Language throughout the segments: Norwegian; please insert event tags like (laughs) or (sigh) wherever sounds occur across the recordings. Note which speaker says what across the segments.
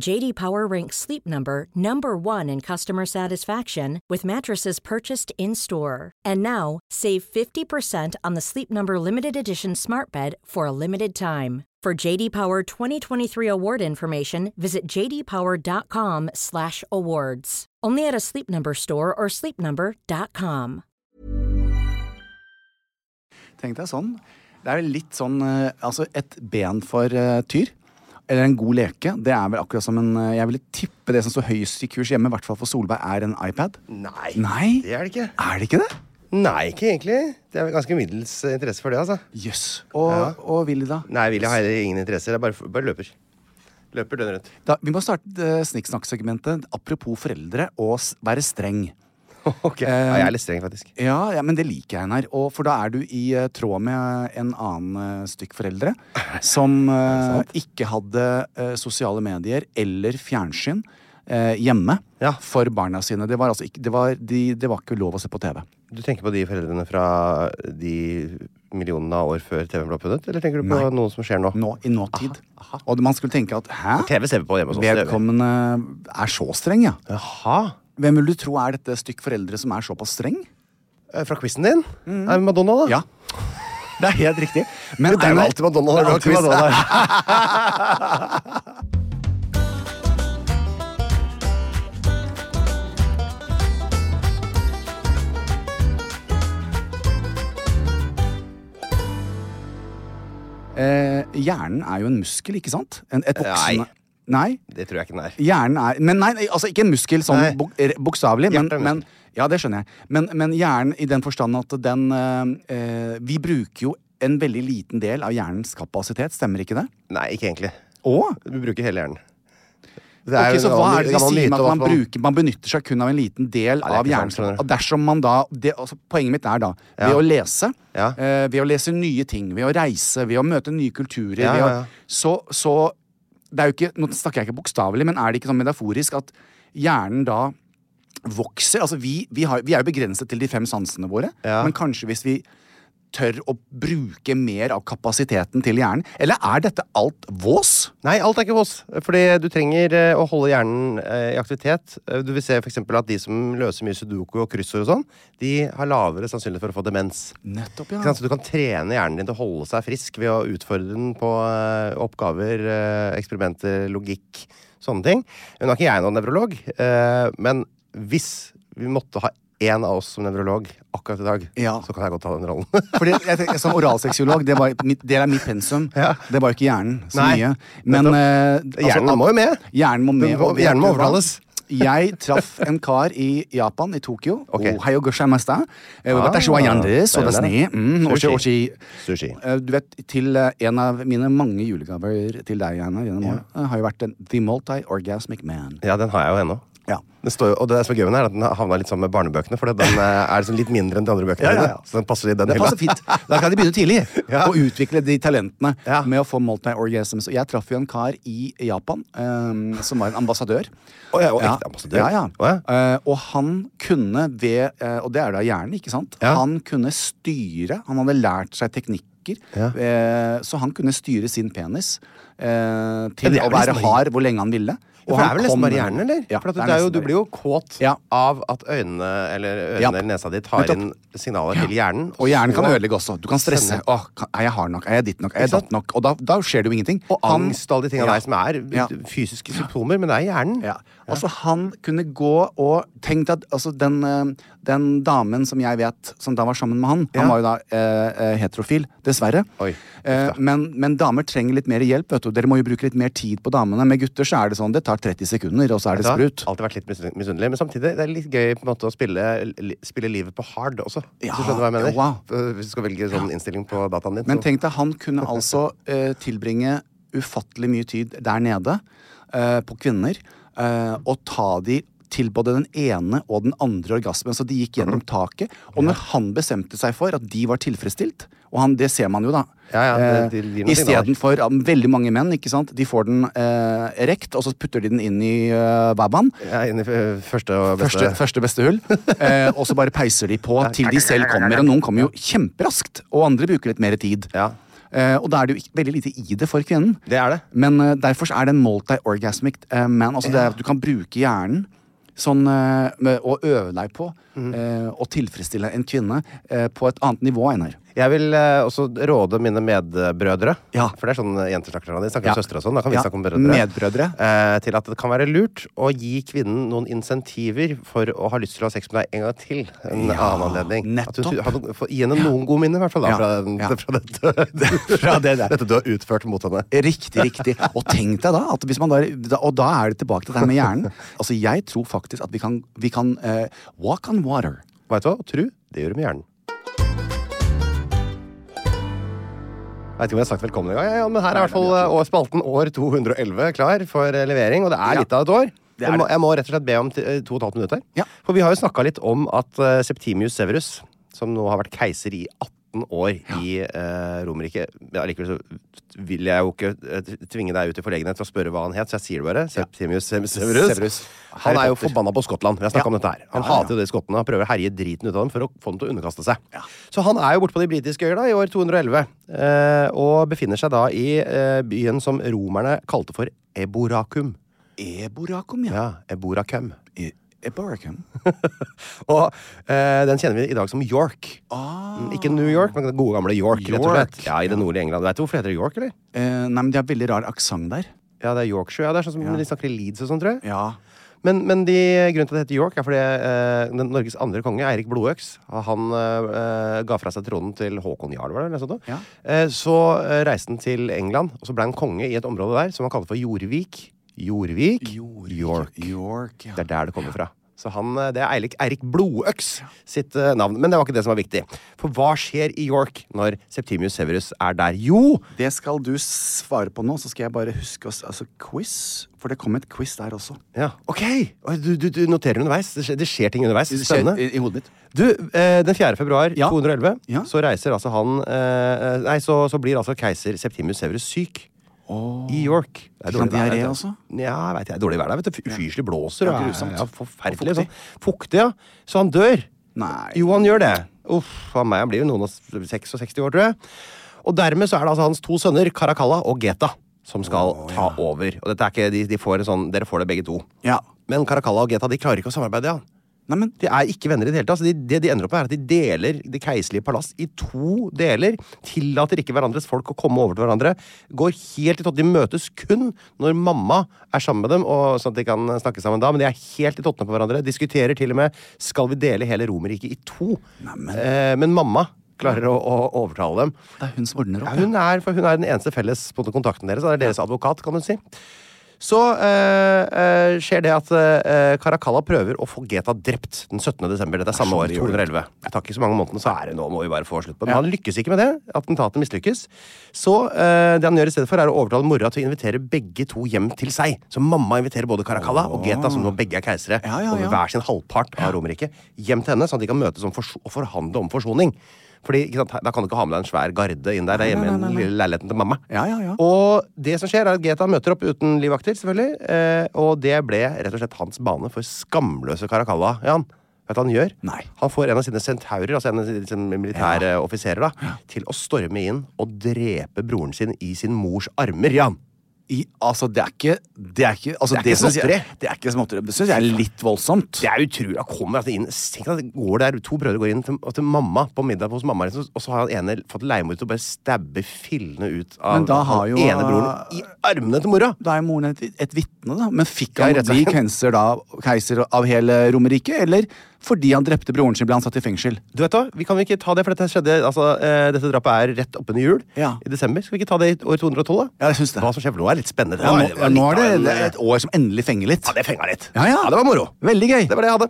Speaker 1: JD Power ranks Sleep Number number 1 in customer satisfaction with mattresses purchased in-store. And now, save 50% on the Sleep Number limited edition Smart Bed for a limited time. For JD Power 2023 award information, visit jdpower.com/awards. Only at a Sleep Number store or sleepnumber.com.
Speaker 2: Tenk deg sånn. Det er litt sånn eh, Altså, et ben for eh, tyr. Eller en god leke. Det er vel akkurat som en eh, Jeg ville tippe det som står høyest i kurs hjemme, i hvert fall for Solveig, er en iPad.
Speaker 3: Nei,
Speaker 2: Nei?
Speaker 3: det er det ikke.
Speaker 2: Er det ikke det?
Speaker 3: Nei, ikke egentlig. Det er ganske middels eh, interesse for det, altså.
Speaker 2: Jøss. Og, og Willy, da?
Speaker 3: Nei, Willy har heller ingen interesse. Det er bare, bare løper. Løper døgnet rundt.
Speaker 2: da? Vi må starte eh, snikksnakk-segmentet. Apropos foreldre og s være streng.
Speaker 3: Ok, ja, Jeg er litt streng, faktisk.
Speaker 2: Ja, ja, men det liker jeg, Einar. Og for da er du i eh, tråd med en annen eh, stykk
Speaker 3: (laughs)
Speaker 2: foreldre som eh, ikke hadde eh, sosiale medier eller fjernsyn eh, hjemme
Speaker 3: Ja.
Speaker 2: for barna sine. Det var, altså ikke, det, var, de, det var ikke lov å se på TV.
Speaker 3: Du tenker på de foreldrene fra de millionene av år før TV ble oppfunnet? Eller tenker du på noe som skjer nå?
Speaker 2: Nå, I nåtid. Og man skulle tenke at hæ?
Speaker 3: TV ser vi på hjemme hos oss. det sånn gjør vi.
Speaker 2: Vedkommende er så streng, ja.
Speaker 3: Jaha.
Speaker 2: Hvem vil du tro er dette stykk foreldre som er såpass streng?
Speaker 3: Eh, Fra quizen din? Er det Madonna, da?
Speaker 2: Mm. Ja. Det er helt riktig. Men
Speaker 3: Det er jo
Speaker 2: Einar-
Speaker 3: alltid Madonna når
Speaker 2: Det er
Speaker 3: du har
Speaker 2: alltid
Speaker 3: quiz.
Speaker 2: Madonna. (laughs) Eh, hjernen er jo en muskel, ikke sant? En, et voksende... Nei.
Speaker 3: Det tror jeg ikke den er.
Speaker 2: Hjernen er Men nei, nei, altså ikke en muskel sånn
Speaker 3: Nei.
Speaker 2: bok- er- bokstavelig, men,
Speaker 3: Hjertet er en
Speaker 2: men Ja, det skjønner jeg. Men, men hjernen i den forstand at den eh, eh, Vi bruker jo en veldig liten del av hjernens kapasitet, stemmer ikke det?
Speaker 3: Nei, ikke egentlig.
Speaker 2: Og
Speaker 3: Du bruker hele hjernen. Det
Speaker 2: Ok, så
Speaker 3: en
Speaker 2: hva
Speaker 3: gammel-
Speaker 2: er det de
Speaker 3: gammel
Speaker 2: sier
Speaker 3: myte
Speaker 2: med
Speaker 3: om
Speaker 2: at man, bruker, man benytter seg kun av en liten del
Speaker 3: det er
Speaker 2: av
Speaker 3: ikke
Speaker 2: hjernen?
Speaker 3: sant, skjønner du.
Speaker 2: Og dersom man da det, altså, Poenget mitt er da ved å lese,
Speaker 3: Ja.
Speaker 2: eh, ved å lese nye ting, ved å reise, ved å møte nye kulturer
Speaker 3: Ja,
Speaker 2: ved
Speaker 3: ja,
Speaker 2: å,
Speaker 3: ja.
Speaker 2: Så, så det er jo ikke, Nå snakker jeg ikke bokstavelig, men er det ikke sånn metaforisk at hjernen da vokser? Altså Vi, vi, har, vi er jo begrenset til de fem sansene våre,
Speaker 3: Ja.
Speaker 2: men kanskje hvis vi tør å bruke mer av kapasiteten til hjernen? Eller er dette alt vås?
Speaker 3: Nei, alt er ikke vås. Fordi du trenger eh, å holde hjernen eh, i aktivitet. Eh, Du vil se for eksempel at de som løser mye sudoku og kryssord og sånn, de har lavere sannsynlighet for å få demens.
Speaker 2: Nettopp,
Speaker 3: Ikke sant? Så du kan trene hjernen din til å holde seg frisk ved å utfordre den på eh, oppgaver, eh, eksperimenter, logikk, sånne ting. Nå er ikke jeg noen nevrolog, eh, men hvis vi måtte ha én av oss som nevrolog akkurat i dag,
Speaker 2: Ja. Altså,
Speaker 3: så kan jeg godt ta den rollen.
Speaker 2: Fordi jeg tenker, Som oralseksuolog, det, var mitt- det er mitt pensum. Det var jo ikke hjernen så
Speaker 3: Nei,
Speaker 2: mye. Men eh,
Speaker 3: Hjernen må jo med.
Speaker 2: Hjernen må med.
Speaker 3: Den må-
Speaker 2: og vet
Speaker 3: hjernen må
Speaker 2: du hva?
Speaker 3: (laughs) overtales.
Speaker 2: Jeg traff en kar i Japan, i Tokyo. Oh,
Speaker 3: Ok.
Speaker 2: Ohio goshaimasta. Eh,
Speaker 3: Ah,
Speaker 2: watashiwa yandesu,
Speaker 3: det er
Speaker 2: wadasni.
Speaker 3: det.
Speaker 2: Mm, oshi,
Speaker 3: Sushi.
Speaker 2: oshi.
Speaker 3: Sushi.
Speaker 2: Eh, Du vet, til eh, en av mine mange julegaver til deg, Einar, gjennom årene, eh, har jo vært en The Multi-Orgasmic Man.
Speaker 3: Ja, den har jeg jo ennå.
Speaker 2: Ja.
Speaker 3: Den står jo, og det som er gøy med den, er at den havna litt sammen med barnebøkene. For den eh, er liksom litt mindre enn de andre bøkene.
Speaker 2: Ja, ja, ja.
Speaker 3: dine, Så den passer i den
Speaker 2: Det
Speaker 3: hylla.
Speaker 2: passer fint. Da kan de begynne tidlig
Speaker 3: (laughs) Ja.
Speaker 2: å utvikle de talentene
Speaker 3: Ja.
Speaker 2: med å få multi-orgasms. Og Jeg traff jo en kar i Japan ehm, som var en ambassadør.
Speaker 3: Å ja, og ekte ambassadør.
Speaker 2: Ja, ja.
Speaker 3: Å ja.
Speaker 2: Eh, og han kunne ved eh, Og det er da hjernen, ikke sant?
Speaker 3: Ja.
Speaker 2: Han kunne styre. Han hadde lært seg teknikker sprekker.
Speaker 3: Ja.
Speaker 2: Eh, så han kunne styre sin penis eh, til
Speaker 3: det er
Speaker 2: å
Speaker 3: vel
Speaker 2: være
Speaker 3: nesten bare-
Speaker 2: hard hvor lenge han ville.
Speaker 3: For det
Speaker 2: han
Speaker 3: er vel nesten
Speaker 2: kom-
Speaker 3: bare hjernen, eller?
Speaker 2: Ja,
Speaker 3: For at
Speaker 2: det er
Speaker 3: det er jo,
Speaker 2: nesten
Speaker 3: du
Speaker 2: bare-
Speaker 3: blir jo kåt
Speaker 2: Ja.
Speaker 3: av at øynene eller ørene
Speaker 2: Ja.
Speaker 3: eller nesa di tar
Speaker 2: Nettopp.
Speaker 3: inn signaler til hjernen.
Speaker 2: Og hjernen kan
Speaker 3: så-
Speaker 2: ødelegge også. Du kan stresse.
Speaker 3: Stemmer.
Speaker 2: Åh, kan- er jeg hard nok? Er jeg ditt nok? Er jeg
Speaker 3: Ikke
Speaker 2: datt
Speaker 3: sant?
Speaker 2: nok? Og da, da skjer det jo ingenting.
Speaker 3: Og
Speaker 2: Han-
Speaker 3: angst og alle de tinga
Speaker 2: Ja.
Speaker 3: der som er
Speaker 2: Ja.
Speaker 3: fysiske symptomer, men det er hjernen.
Speaker 2: Ja. Altså, han kunne gå og tenkt at altså, den, eh, den damen som jeg vet som da var sammen med han
Speaker 3: Ja.
Speaker 2: Han var jo da eh, eh, heterofil, dessverre.
Speaker 3: Oi,
Speaker 2: Eh,
Speaker 3: uff da.
Speaker 2: men, men damer trenger litt mer hjelp. Vet du. Dere må jo bruke litt mer tid på damene. Med gutter så er det sånn, det tar 30 sekunder, og så er det
Speaker 3: Vet du hva?
Speaker 2: sprut.
Speaker 3: Alltid vært litt misun- misunnelig. Men samtidig det er litt gøy på en måte å spille, li, spille livet på hard også.
Speaker 2: Ja,
Speaker 3: Hvis du skjønner hva jeg mener?
Speaker 2: wow.
Speaker 3: Eh, Hvis du skal velge sånn innstilling på dataen din.
Speaker 2: Men
Speaker 3: så-
Speaker 2: tenk deg, han kunne altså
Speaker 3: (laughs)
Speaker 2: eh, tilbringe ufattelig mye tid der nede eh, på kvinner eh, og ta de til både den ene og den andre orgasmen. Så de gikk gjennom
Speaker 3: Mhm.
Speaker 2: taket. Og når han bestemte seg for at de var tilfredsstilt, og han, det ser man jo, da
Speaker 3: Ja, ja, det-
Speaker 2: eh,
Speaker 3: det gir noen signaler.
Speaker 2: Istedenfor ja, veldig mange menn, ikke sant. De får den eh, erekt, og så putter de den inn i eh, babaen.
Speaker 3: ja, inn i f- første og beste
Speaker 2: Første, første beste hull. Eh, og så bare peiser de på til de selv kommer. Og noen kommer jo kjemperaskt, og andre bruker litt mer tid.
Speaker 3: Ja.
Speaker 2: Eh, og da er det jo ikke, veldig lite i det for kvinnen.
Speaker 3: Det er det.
Speaker 2: Men eh, derfor så er det en multi-orgasmic eh, man. Altså det er, at du kan bruke hjernen sånn, eh, med, og øve deg på eh, å tilfredsstille en kvinne eh, på et annet nivå, Einar.
Speaker 3: Jeg vil eh, også råde mine medbrødre,
Speaker 2: Ja.
Speaker 3: for det er sånn jenter snakker om, de snakker
Speaker 2: Ja.
Speaker 3: om søstre og sånn, da kan vi
Speaker 2: Ja,
Speaker 3: snakke om brødre,
Speaker 2: medbrødre.
Speaker 3: Eh, til at det kan være lurt å gi kvinnen noen insentiver for å ha lyst til å ha sex med deg en gang til en
Speaker 2: Ja,
Speaker 3: annen anledning. At du,
Speaker 2: nettopp.
Speaker 3: har noen- få- gi henne noen gode minner, i hvert fall, da,
Speaker 2: Ja,
Speaker 3: fra, den,
Speaker 2: ja.
Speaker 3: (laughs) fra, dette,
Speaker 2: Fra det der.
Speaker 3: (laughs) dette du har utført mot henne.
Speaker 2: Riktig, riktig. Og tenk deg da, at hvis man da, da Og da er det tilbake til det her med (laughs) hjernen. Altså, jeg tror faktisk at vi kan, vi kan eh, walk on water.
Speaker 3: Vet du hva? Tru, det gjør du med hjernen. Jeg vet ikke om jeg har sagt velkommen engang, jeg, Jan, men her er i hvert fall eh, år- spalten år 211 klar for eh, levering. Og det er
Speaker 2: Ja.
Speaker 3: litt av et år.
Speaker 2: Det er
Speaker 3: Jeg må,
Speaker 2: det.
Speaker 3: jeg må rett og slett be om t- eh, to og et halvt minutter.
Speaker 2: Ja.
Speaker 3: For vi har jo snakka litt om at eh, Septimius Severus, som nå har vært keiser i 18 år i eh, Romerriket ja, Likevel så vil jeg jo ikke eh, tvinge deg ut i forlegenhet til å spørre hva han het, så jeg sier det bare. Septimius Sev- Severus.
Speaker 2: Severus.
Speaker 3: Han er
Speaker 2: Harry
Speaker 3: jo
Speaker 2: Potter.
Speaker 3: forbanna på Skottland. Vi har snakket
Speaker 2: Ja.
Speaker 3: om dette her. Han
Speaker 2: Ja, ja, ja.
Speaker 3: hater jo det skottene. Han prøver å herje driten ut av dem for å få dem til å underkaste seg. Så han er jo borte på de britiske øyer da, i år 211, eh, og befinner seg da i eh, byen som romerne kalte for Eboracum.
Speaker 2: Eborakum, ja.
Speaker 3: Ja, Eboracum.
Speaker 2: E- Eborakum.
Speaker 3: Og eh, den kjenner vi i dag som York. Mm, Ikke New York, men den gode gamle York. rett og slett.
Speaker 2: Ah. York,
Speaker 3: Ja, I det nordlige England. Vet du hvorfor det heter York, eller?
Speaker 2: Eh, nei, men de har veldig rar aksent der.
Speaker 3: Ja, det er Yorkshire. Ja, det er sånn som de snakker i Leeds og sånn, tror jeg.
Speaker 2: Ja.
Speaker 3: Men, men de, grunnen til at det heter York, er fordi eh, den Norges andre konge, Eirik Blodøks, han eh, eh, ga fra seg tronen til Håkon Jarl, var det? Eller noe sånt, da?
Speaker 2: Ja.
Speaker 3: Eh, så eh, reiste han til England, og så ble han konge i et område der som han kalte for Jorvik. Jorvik, York.
Speaker 2: York ja.
Speaker 3: Det er der det kommer fra. Så han, eh, Det er Eirik, Eirik Blodøks sitt eh, navn. Men det var ikke det som var viktig. For hva skjer i York når Septimius Severus er der? Jo,
Speaker 2: Det skal du svare på nå, så skal jeg bare huske oss Altså quiz. For det kom et quiz der også.
Speaker 3: ja, ok! Oi, Du, du, du noterer underveis. Det skjer, det skjer ting underveis.
Speaker 2: Det skjer
Speaker 3: Spennende.
Speaker 2: i, i hodet mitt.
Speaker 3: Du, eh, den 4. februar
Speaker 2: Ja.
Speaker 3: 211
Speaker 2: Ja.
Speaker 3: så reiser altså han eh, Nei, så, så blir altså keiser Septimus Severus syk. I York. Det
Speaker 2: Fikk han
Speaker 3: vær,
Speaker 2: diaré
Speaker 3: vet du.
Speaker 2: også?
Speaker 3: Ja, vet jeg, det er dårlig vær der. vet du Fy- Fyselig
Speaker 2: Ja,
Speaker 3: blåser. og er-
Speaker 2: grusomt.
Speaker 3: Ja, forferdelig.
Speaker 2: Og fuktig.
Speaker 3: Fuktig. Sånn. fuktig, ja. Så han dør.
Speaker 2: Nei.
Speaker 3: Jo, han gjør det. Uff, han meg han blir jo noen og s- 66 år, tror jeg. Og dermed så er det altså hans to sønner, Caracalla og Geta, som skal ta over. Og dette er ikke, de, de får en sånn, Dere får det begge to.
Speaker 2: Ja.
Speaker 3: Men Caracalla og Geta de klarer ikke å samarbeide. Ja.
Speaker 2: Nei, men
Speaker 3: De er ikke venner i det hele tatt. så De, det de ender opp med, er at de deler det keiserlige palass i to deler. Tillater ikke hverandres folk å komme over til hverandre. Går helt i totten. De møtes kun når mamma er sammen med dem, og, sånn at de kan snakke sammen da. Men de er helt i tottene på hverandre. Diskuterer til og med skal vi dele hele Romerriket i to. Eh, men mamma klarer å, å overtale dem.
Speaker 2: det er hun som ordner
Speaker 3: Ja,
Speaker 2: opp.
Speaker 3: hun, er, for hun er den eneste felles på en måte kontakten deres. Han er deres advokat, kan du si. Så eh, eh, skjer det at eh, Caracalla prøver å få Geta drept den 17. desember. Dette er samme
Speaker 2: sånn
Speaker 3: år, 211. Det tar ikke så mange månedene, så er det nå må vi bare få slutt på det. Men han lykkes ikke med det. Attentatet mislykkes. Så eh, det han gjør i stedet for, er å overtale mora til å invitere begge to hjem til seg. Så mamma inviterer både Caracalla og Geta, som nå begge er keisere,
Speaker 2: Ja, ja, ja.
Speaker 3: over hver sin halvpart av Romerriket, hjem til henne, sånn at de kan møtes om forso- og forhandle om forsoning. Fordi, ikke sant, Da kan du ikke ha med deg en svær garde inn der. Det er hjemme i den lille leiligheten til mamma.
Speaker 2: Ja, ja, ja.
Speaker 3: Og det som skjer, er at Geta møter opp uten livvakter, selvfølgelig. Eh, og det ble rett og slett hans bane for skamløse Caracalla. Jan. Vet du hva han gjør?
Speaker 2: Nei.
Speaker 3: Han får en av sine centaurer, altså en av sine- sine militære offiserer, da, til å storme inn og drepe broren sin i sin mors armer, Jan.
Speaker 2: I, altså, det er ikke Det er ikke, altså,
Speaker 3: Det er ikke
Speaker 2: synes jeg-
Speaker 3: småtteri.
Speaker 2: Det er ikke småtteri. Det syns jeg er litt voldsomt.
Speaker 3: Det er utrolig. Han kommer altså inn Tenk at det går der, to brødre går inn til, til mamma på middag hos mamma, liksom, og så har han ene fått leiemorder til å bare stabbe fillene ut av
Speaker 2: Men da har
Speaker 3: han
Speaker 2: jo- eh,
Speaker 3: ene broren i armene til mora!
Speaker 2: Da er moren et, et vitne, da. Men fikk
Speaker 3: Ja,
Speaker 2: han
Speaker 3: rett og
Speaker 2: bli
Speaker 3: slett.
Speaker 2: keiser, da, keiser av hele Romerriket? Eller fordi han drepte broren sin, ble han satt i fengsel?
Speaker 3: Du vet da, Vi kan vel ikke ta det, for dette skjedde altså, eh, Dette drapet er rett oppunder jul
Speaker 2: Ja.
Speaker 3: i desember. Skal vi ikke ta det i år 212, da?
Speaker 2: Ja, jeg syns det.
Speaker 3: Hva som skjer for nå, er litt spennende.
Speaker 2: Ja, nå,
Speaker 3: Det
Speaker 2: ja,
Speaker 3: var-
Speaker 2: nå er det,
Speaker 3: det var litt
Speaker 2: det er
Speaker 3: av en- eh,
Speaker 2: et år som endelig fenger litt.
Speaker 3: Ja, det fenga litt.
Speaker 2: Ja, ja.
Speaker 3: det var moro.
Speaker 2: Veldig gøy.
Speaker 3: Det var det jeg hadde.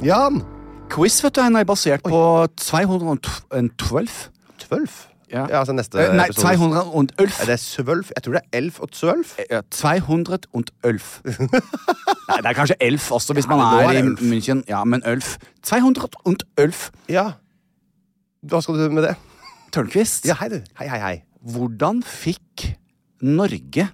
Speaker 3: Jan.
Speaker 2: Quiz vet du, Einar, basert på 212
Speaker 3: Tølv.
Speaker 2: Ja.
Speaker 3: altså neste
Speaker 2: Eh, Nei,
Speaker 3: episode.
Speaker 2: 211.
Speaker 3: Er det svølv? Jeg tror det er elf og tsølv.
Speaker 2: Ja, 211.
Speaker 3: (laughs)
Speaker 2: Nei, det er kanskje elf også, hvis man
Speaker 3: men nå
Speaker 2: er,
Speaker 3: er
Speaker 2: i
Speaker 3: det elf.
Speaker 2: München. Ja, men elf. 211.
Speaker 3: Ja. Hva skal du med det?
Speaker 2: Tørnquist.
Speaker 3: Ja, hei, du. Hei, hei, hei.
Speaker 2: Hvordan fikk Norge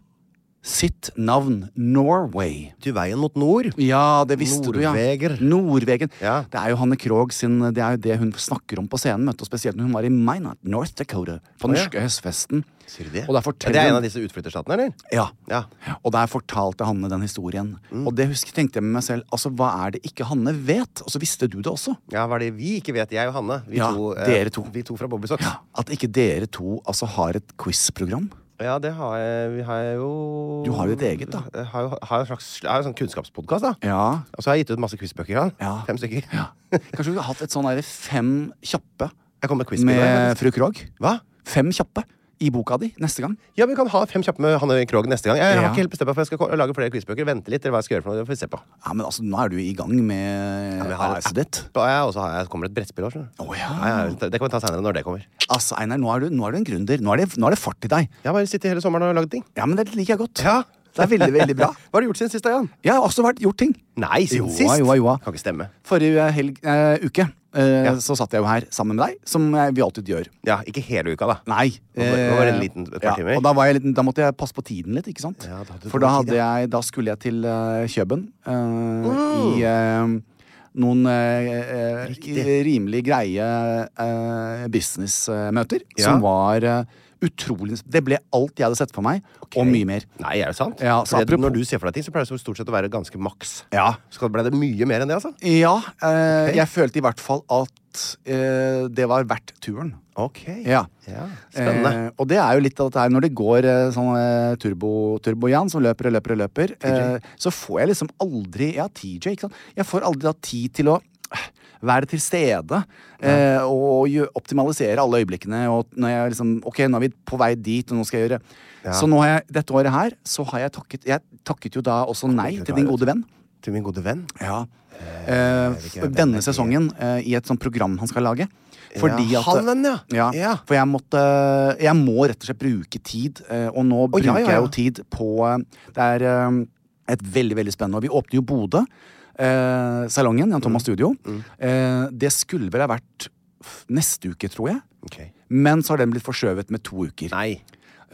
Speaker 2: sitt navn Norway?
Speaker 3: Du, veien mot nord.
Speaker 2: Ja, det visste
Speaker 3: Norveger.
Speaker 2: du, ja. Norvegen.
Speaker 3: Ja.
Speaker 2: Det er jo Hanne Krogh sin Det er jo det hun snakker om på scenen, vet du, og spesielt når hun var i Minot, North Dakota, på
Speaker 3: ja.
Speaker 2: norske høstfesten.
Speaker 3: Sier du det?
Speaker 2: Og der
Speaker 3: Ja,
Speaker 2: forteller
Speaker 3: det er en
Speaker 2: hun-
Speaker 3: av disse utflytterstatene, eller?
Speaker 2: Ja.
Speaker 3: Ja. Mm.
Speaker 2: Og der fortalte Hanne den historien. Og det husker, tenkte jeg med meg selv. Altså, Hva er det ikke Hanne vet? Og så visste du det også.
Speaker 3: Ja, hva er det vi ikke vet? Jeg og Hanne. Vi
Speaker 2: Ja,
Speaker 3: to, eh,
Speaker 2: dere to.
Speaker 3: Vi to fra Bobbysocks. Ja.
Speaker 2: At ikke dere to altså, har et quizprogram.
Speaker 3: det har jeg, vi har jeg jo
Speaker 2: Du har jo ditt eget, da.
Speaker 3: Jeg har jo har jo en slags jeg har jo en sånn kunnskapspodkast, da.
Speaker 2: Ja.
Speaker 3: Og så har jeg gitt ut masse quizbøker. Jan.
Speaker 2: Ja.
Speaker 3: Fem stykker. (laughs)
Speaker 2: Kanskje vi har hatt et sånn derre fem kjappe
Speaker 3: Jeg kommer med quiz
Speaker 2: med fru Krogh?
Speaker 3: Hva?
Speaker 2: Fem kjappe i boka di neste gang.
Speaker 3: Ja, vi kan ha fem kjappe med Hanne Krogh neste gang. Jeg, har
Speaker 2: Ja.
Speaker 3: ikke helt bestemt meg for jeg skal ko- lage flere quizbøker. Vente litt, eller hva jeg skal gjøre for noe. Det får vi se på.
Speaker 2: Ja, men altså, Nå er du i gang med
Speaker 3: men jeg har en
Speaker 2: AS-et ditt.
Speaker 3: Og jeg, og så har jeg, kommer det et brettspill òg, skjønner du.
Speaker 2: Å, ja.
Speaker 3: Det kan vi ta seinere, når det kommer.
Speaker 2: Altså, Einar, nå er du, nå er du en gründer. Nå er, det, nå er det fart i deg.
Speaker 3: Jeg har bare sittet hele sommeren og lagd ting.
Speaker 2: Ja, men Det liker jeg godt.
Speaker 3: Ja.
Speaker 2: Det er veldig, veldig bra.
Speaker 3: (laughs) Hva har du gjort siden sist, da, Jan?
Speaker 2: Jeg har også vært, gjort ting.
Speaker 3: Nei, siden
Speaker 2: Joa,
Speaker 3: sist?
Speaker 2: joa, joa.
Speaker 3: Kan ikke stemme.
Speaker 2: Forrige helg, eh, uke eh, så satt jeg jo her sammen med deg, som eh, vi alltid gjør.
Speaker 3: Ja, ikke hele uka, da.
Speaker 2: Nei.
Speaker 3: Nå var- nå var det en
Speaker 2: eh,
Speaker 3: liten- et par timer.
Speaker 2: Ja, og da, var jeg litt, da måtte jeg passe på tiden litt, ikke sant?
Speaker 3: Ja, da hadde du
Speaker 2: For da,
Speaker 3: god tid,
Speaker 2: hadde jeg, da skulle jeg til eh, Kjøben eh, i eh, noen eh, eh, rimelig greie eh, businessmøter
Speaker 3: Ja.
Speaker 2: som var eh, utrolig Det ble alt jeg hadde sett for meg, og mye mer.
Speaker 3: Nei, er det sant?
Speaker 2: Ja, så
Speaker 3: Fordi at
Speaker 2: apropos-
Speaker 3: Når du ser for deg ting, så pleier det stort sett å være ganske maks.
Speaker 2: Ja.
Speaker 3: Så ble det mye mer enn det, altså?
Speaker 2: Ja. Eh, Jeg følte i hvert fall at eh, det var verdt turen.
Speaker 3: Ok.
Speaker 2: Ja.
Speaker 3: Ja, spennende.
Speaker 2: Eh, og det er jo litt av dette her når det går eh, sånn eh, turbo- turbo-Jan som løper og løper og løper, eh, så får jeg liksom aldri Ja, TJ, ikke sant. Jeg får aldri da tid til å eh, være til stede eh, og gjø- optimalisere alle øyeblikkene. Og når jeg liksom Ok, nå er vi på vei dit, og nå skal jeg gjøre Så nå har jeg, dette året her, så har jeg takket Jeg takket jo da også nei
Speaker 3: det
Speaker 2: til
Speaker 3: var
Speaker 2: din
Speaker 3: jo
Speaker 2: gode venn.
Speaker 3: Til min gode venn.
Speaker 2: Ja. Eh, f- denne sesongen, eh, i et sånt program han skal lage. Fordi
Speaker 3: Ja,
Speaker 2: at
Speaker 3: han den, ja.
Speaker 2: ja.
Speaker 3: Ja.
Speaker 2: For jeg måtte Jeg må rett og slett bruke tid, eh, og nå bruker
Speaker 3: ja, ja,
Speaker 2: jeg
Speaker 3: ja.
Speaker 2: jo tid på eh, Det er eh, et veldig, veldig spennende Og vi åpner jo Bodø. Eh, salongen, Jan
Speaker 3: Mm.
Speaker 2: Thomas Studio. Eh, det skulle vel ha vært f- neste uke, tror jeg.
Speaker 3: Ok.
Speaker 2: Men så har den blitt forskjøvet med to uker.
Speaker 3: Nei.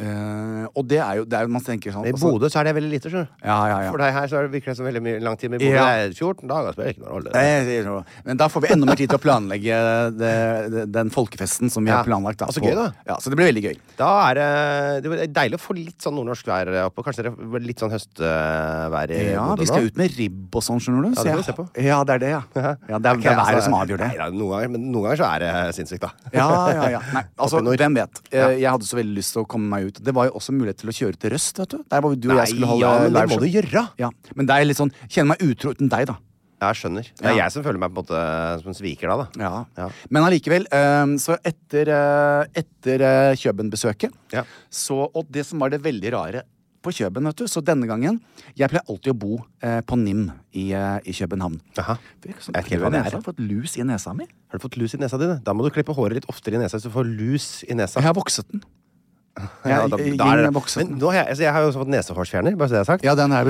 Speaker 2: Eh, og det er jo det er, jo- Man tenker sånn
Speaker 3: I
Speaker 2: altså-
Speaker 3: Bodø så er det veldig lite, skjønner du.
Speaker 2: Ja, ja, ja.
Speaker 3: For deg her så er det virker det som veldig mye lang tid, men i Bodø
Speaker 2: Ja. Eh.
Speaker 3: er det 14 dager. Spiller ikke noen rolle.
Speaker 2: Nei, jeg sier noe. Men da får vi enda mer tid til å planlegge det, det, den folkefesten som vi
Speaker 3: Ja.
Speaker 2: har planlagt. Da,
Speaker 3: Altså,
Speaker 2: på-
Speaker 3: gøy da.
Speaker 2: Ja, så det blir veldig gøy.
Speaker 3: Da er det, det var deilig å få litt sånn nordnorsk vær oppe. Kanskje det var litt sånn høstvær i
Speaker 2: Ja,
Speaker 3: Bodø
Speaker 2: vi skal ut med ribb og sånn, skjønner du.
Speaker 3: Ja,
Speaker 2: så
Speaker 3: det
Speaker 2: jeg-
Speaker 3: får vi se på.
Speaker 2: (laughs) ja, det er det, ja. ja det er, det er været som avgjør det.
Speaker 3: altså, Nei, da, noen ganger, men noen ganger så er det eh, sinnssykt, da.
Speaker 2: Ja, ja, ja.
Speaker 3: (laughs)
Speaker 2: Nei, altså,
Speaker 3: Oppe i nord.
Speaker 2: hvem vet. Eh, Jeg hadde så veldig lyst til å komme meg ut. Det var jo også mulighet til å kjøre til Røst, vet du. Der var jo du og jeg skulle holde
Speaker 3: ja, men det
Speaker 2: liveshow.
Speaker 3: må du gjøre!
Speaker 2: Ja, men det er litt sånn Kjenner meg utro uten deg, da.
Speaker 3: Jeg skjønner. Det er
Speaker 2: Ja.
Speaker 3: jeg som føler meg på en måte eh, som en sviker da. da.
Speaker 2: Ja.
Speaker 3: Ja.
Speaker 2: Men allikevel, ehm, så etter, eh, etter eh, Kjøben-besøket
Speaker 3: Ja.
Speaker 2: så- Og det som var det veldig rare på Kjøben, vet du, så denne gangen Jeg pleier alltid å bo eh, på NIM i, eh, i København.
Speaker 3: Jaha.
Speaker 2: Jeg
Speaker 3: Jeg vet ikke helt hva det er.
Speaker 2: har fått lus i nesa mi.
Speaker 3: Har du fått lus i nesa di? da? Da må du klippe håret litt oftere i nesa hvis du får lus i nesa.
Speaker 2: Jeg har vokset den. Jeg,
Speaker 3: Ja,
Speaker 2: ja,
Speaker 3: da- da er
Speaker 2: jeg,
Speaker 3: det-
Speaker 2: vokset
Speaker 3: Men
Speaker 2: den.
Speaker 3: nå har jeg, altså, jeg har jo også fått nesehårsfjerner, bare så det er sagt.
Speaker 2: Ja, den er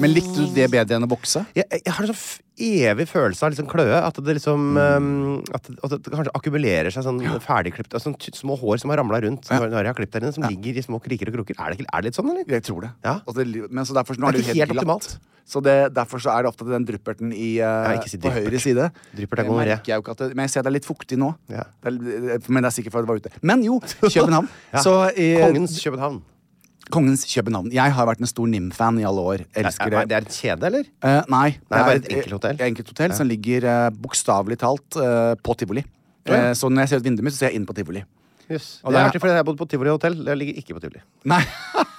Speaker 2: Men likte du det bedre enn å bokse?
Speaker 3: jeg, jeg har en sånn f- evig følelse av liksom kløe. At det liksom
Speaker 2: Mm.
Speaker 3: um, at, det- at det kanskje akkumulerer seg sånn ferdigklipt altså, sånn ty- Små hår som har ramla rundt når, når jeg har klipt der inne, som ligger i små kriker og kroker. Er det, ikke- er det litt sånn, eller?
Speaker 2: Jeg tror det.
Speaker 3: Ja.
Speaker 2: Og det li- men så derfor, nå er
Speaker 3: Det
Speaker 2: det
Speaker 3: er
Speaker 2: jo helt,
Speaker 3: ikke helt
Speaker 2: glatt.
Speaker 3: optimalt.
Speaker 2: Så det, derfor så er det ofte den drypperten i, eh,
Speaker 3: ikke si
Speaker 2: på
Speaker 3: dryppert.
Speaker 2: høyre side.
Speaker 3: Dryppert er
Speaker 2: Det
Speaker 3: gonoré.
Speaker 2: merker jeg jo ikke at det, men jeg ser det er litt fuktig nå.
Speaker 3: Ja.
Speaker 2: Det er, men det er sikkert fordi det var ute. Men jo, (laughs) København. Så, eh,
Speaker 3: Kongens København.
Speaker 2: Kongens København. Jeg har vært en stor NIM-fan i alle år. Elsker
Speaker 3: Er, er
Speaker 2: det.
Speaker 3: det er et kjede, eller?
Speaker 2: Eh, nei,
Speaker 3: Nei, bare et enkelthotell.
Speaker 2: eh, enkelthotell Som ligger eh, bokstavelig talt eh, på tivoli. Eh, så når jeg ser ut vinduet mitt, så ser jeg inn på tivoli.
Speaker 3: Yes.
Speaker 2: Og
Speaker 3: det er
Speaker 2: det er-
Speaker 3: artig, for jeg har bodd på Tivoli hotell. Jeg ligger ikke på Tivoli.
Speaker 2: Nei. (laughs)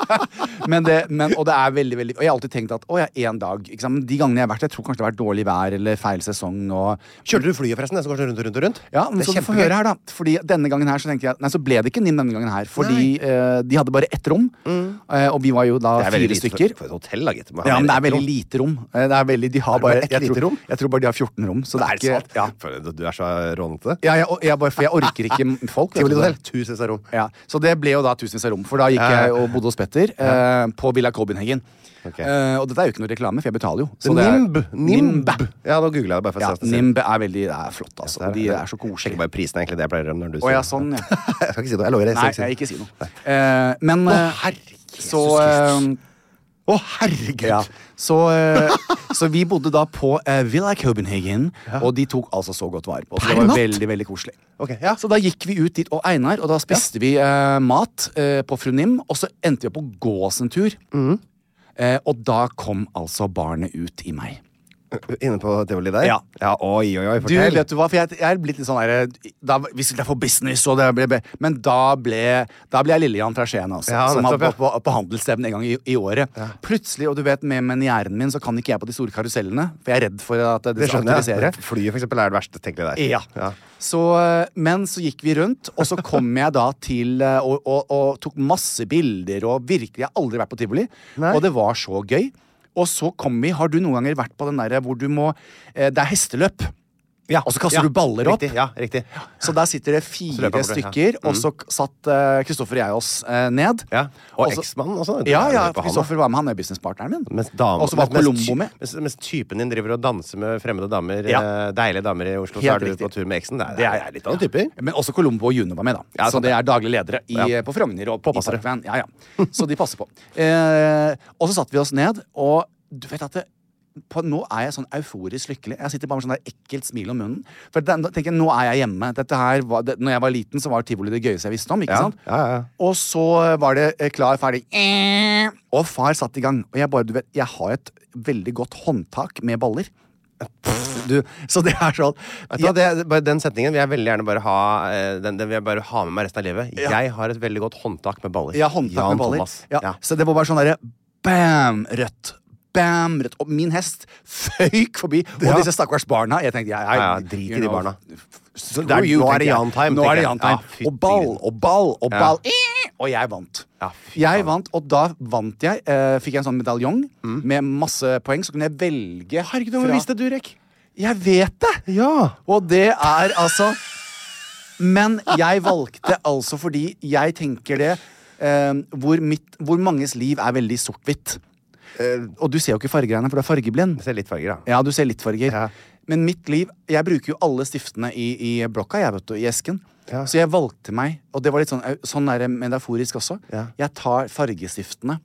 Speaker 2: men det, men, og det er veldig, veldig Og jeg har alltid tenkt at å, jeg er én dag. Ikke sant? Men de gangene jeg har vært der, jeg tror kanskje det har vært dårlig vær eller feil sesong. Og,
Speaker 3: Kjørte du flyet, forresten? Det som går sånn rundt og rundt og rundt?
Speaker 2: ja, men
Speaker 3: det
Speaker 2: så
Speaker 3: er
Speaker 2: du får
Speaker 3: kjempegøy.
Speaker 2: høre her, da. Fordi denne gangen her så tenkte jeg Nei, så ble det ikke NIM denne gangen her. Fordi eh, de hadde bare ett rom, eh, og vi var jo da
Speaker 3: Mm. Det er veldig
Speaker 2: fire
Speaker 3: lite
Speaker 2: stykker.
Speaker 3: For, for et hotell, da, gitt. Man har
Speaker 2: Ja, men det er
Speaker 3: et
Speaker 2: veldig
Speaker 3: rom.
Speaker 2: lite rom. Eh, Det er veldig, de har
Speaker 3: det bare
Speaker 2: bare,
Speaker 3: ett
Speaker 2: jeg,
Speaker 3: lite
Speaker 2: tror,
Speaker 3: rom?
Speaker 2: jeg tror bare de har 14 rom. Så det er ikke
Speaker 3: sant?
Speaker 2: ja.
Speaker 3: For du- Du er så rånete.
Speaker 2: Ja, jeg, jeg, bare, for jeg orker ikke m- folk. vet du
Speaker 3: Tivoli
Speaker 2: det.
Speaker 3: hotell. Tusenvis av rom.
Speaker 2: Ja, Så det ble jo da tusenvis av rom, for da gikk
Speaker 3: Ja, ja.
Speaker 2: jeg og bodde hos Petter eh, på Villa Kolbenheggen.
Speaker 3: Ok.
Speaker 2: Eh, og dette er jo ikke noe reklame, for jeg betaler jo.
Speaker 3: Så
Speaker 2: det er-
Speaker 3: Nimb. Nimb. Ja, nå googla jeg det bare for
Speaker 2: Ja,
Speaker 3: å se.
Speaker 2: Nimb er veldig det er flott, altså.
Speaker 3: Der,
Speaker 2: og de
Speaker 3: der.
Speaker 2: er så
Speaker 3: Sjekker
Speaker 2: koselige.
Speaker 3: bare prisen, egentlig. Det jeg pleier å gjøre når du
Speaker 2: Å ja,
Speaker 3: det.
Speaker 2: sånn, ja.
Speaker 3: (laughs) Jeg skal ikke si noe. Jeg lover.
Speaker 2: Nei,
Speaker 3: Jeg skal
Speaker 2: jeg
Speaker 3: ikke si
Speaker 2: ikke si noe. Eh, men eh, så eh,
Speaker 3: Å, herregud!
Speaker 2: ja. Så, eh, så vi bodde da på eh, Villa Copenhagen, og de tok altså så godt vare på oss. Det
Speaker 3: Per
Speaker 2: var
Speaker 3: natt?
Speaker 2: veldig, veldig koselig.
Speaker 3: Ok, ja.
Speaker 2: Så da gikk vi ut dit og Einar, og da spiste vi eh, mat eh, på Fru Nim, og så endte vi opp på gås en tur.
Speaker 3: Mm.
Speaker 2: Eh, og da kom altså barnet ut i meg.
Speaker 3: Inne på tivoli der?
Speaker 2: Ja.
Speaker 3: Oi, oi, oi,
Speaker 2: Du,
Speaker 3: fortell.
Speaker 2: vet du hva, for jeg, jeg er blitt litt sånn der, da, Vi skulle for business, og det ble, ble Men da ble, da ble jeg Lillejan fra Skien, altså.
Speaker 3: Ja,
Speaker 2: som har
Speaker 3: nettopp, ja.
Speaker 2: vært på, på handelsstevne en gang i, i året. Plutselig, og du vet, med menieren min så kan ikke jeg på de store karusellene, for jeg er redd for at det,
Speaker 3: det
Speaker 2: skal
Speaker 3: skjønner
Speaker 2: aktivisere.
Speaker 3: jeg. Sånn, Flyet, for eksempel, er det verste, tenker jeg der.
Speaker 2: Ja. Så, eh, men så gikk vi rundt, og så
Speaker 3: (laughs)
Speaker 2: kom jeg da til eh, og, og, og tok masse bilder, og virkelig Jeg har aldri vært på tivoli,
Speaker 3: Nei.
Speaker 2: og det var så gøy. Og så kom vi Har du noen ganger vært på den derre hvor du må eh, Det er hesteløp. Og så kaster
Speaker 3: Ja,
Speaker 2: du baller opp.
Speaker 3: Riktig, ja, riktig.
Speaker 2: Så der sitter det
Speaker 3: Så
Speaker 2: fire
Speaker 3: løper man på det, ja. Mm.
Speaker 2: stykker, og så k- satt eh, Kristoffer og jeg oss eh, ned.
Speaker 3: Ja. Og
Speaker 2: så-
Speaker 3: eksmannen også.
Speaker 2: Ja, ja,
Speaker 3: På han, da.
Speaker 2: Kristoffer var med, han er businesspartneren min.
Speaker 3: Mens dame-
Speaker 2: Og så var
Speaker 3: mens- mens
Speaker 2: Colombo
Speaker 3: ty-
Speaker 2: med.
Speaker 3: Mens, mens typen din driver og danser med fremmede damer,
Speaker 2: Ja.
Speaker 3: eh, deilige damer i Oslo, så
Speaker 2: Helt
Speaker 3: er du
Speaker 2: riktig.
Speaker 3: på tur med eksen. Det er,
Speaker 2: Det er-
Speaker 3: det er litt andre typer.
Speaker 2: Men også Colombo og Juno var med, da.
Speaker 3: Ja,
Speaker 2: så
Speaker 3: sant
Speaker 2: det
Speaker 3: det.
Speaker 2: er daglig ledere i, eh,
Speaker 3: Ja.
Speaker 2: på Frogner og i
Speaker 3: Påpassere.
Speaker 2: Parkveien. Ja, ja. Så de passer på. (laughs) Eh, og så satte vi oss ned, og du vet at det, på, nå er jeg sånn euforisk lykkelig. Jeg sitter bare med sånn der ekkelt smil om munnen. For den, da tenker jeg, nå er jeg hjemme. Dette her var, det, når jeg var liten, så var tivoli det gøyeste jeg visste om. ikke
Speaker 3: Ja,
Speaker 2: sant?
Speaker 3: ja, ja.
Speaker 2: Og så var det eh, klar, ferdig. Eh, Og far satt i gang. Og jeg bare, du vet, jeg har et veldig godt håndtak med baller. Du, så det er sånn
Speaker 3: Vet du hva, det, bare den setningen vil jeg veldig gjerne bare ha eh, Den, den vil jeg bare ha med meg resten av livet. Jeg har et veldig godt håndtak med baller.
Speaker 2: Ja, håndtak
Speaker 3: Jan
Speaker 2: med baller.
Speaker 3: Thomas.
Speaker 2: Ja.
Speaker 3: Ja.
Speaker 2: Så det var bare sånn derre bam, rødt. Bam, rødt. Og min hest føyk forbi. Og
Speaker 3: Ja.
Speaker 2: disse stakkars barna. Jeg tenkte, jeg, jeg,
Speaker 3: Ja, ja, drit i
Speaker 2: you
Speaker 3: de
Speaker 2: know,
Speaker 3: barna.
Speaker 2: f- screw
Speaker 3: det er-
Speaker 2: you,
Speaker 3: nå er
Speaker 2: tenkte
Speaker 3: det
Speaker 2: jeg.
Speaker 3: Jan time,
Speaker 2: Nå
Speaker 3: tenker
Speaker 2: er det
Speaker 3: jeg.
Speaker 2: Jan Time.
Speaker 3: Ja, fy
Speaker 2: og ball
Speaker 3: gud.
Speaker 2: og ball og
Speaker 3: Ja.
Speaker 2: ball. Eh, Og jeg vant.
Speaker 3: Ja, fy
Speaker 2: jeg
Speaker 3: faen. Mm.
Speaker 2: vant, og da vant jeg. eh, fikk jeg en sånn medaljong med masse poeng. Så kunne jeg velge
Speaker 3: Herregud, hvor visste du, Rek?
Speaker 2: Jeg vet det!
Speaker 3: Ja.
Speaker 2: Og det er altså Men jeg valgte altså fordi jeg tenker det eh, hvor, mitt, hvor manges liv er veldig sort-hvitt. og du ser jo ikke fargegreiene, for du er fargeblind.
Speaker 3: Se litt farger, da.
Speaker 2: Ja, du ser litt farger.
Speaker 3: Ja.
Speaker 2: Men mitt liv Jeg bruker jo alle stiftene i, i blokka, jeg, vet du, i esken.
Speaker 3: Ja.
Speaker 2: Så jeg valgte meg, og det var litt sånn, sånn er det metaforisk også.
Speaker 3: Ja.
Speaker 2: Jeg tar fargestiftene.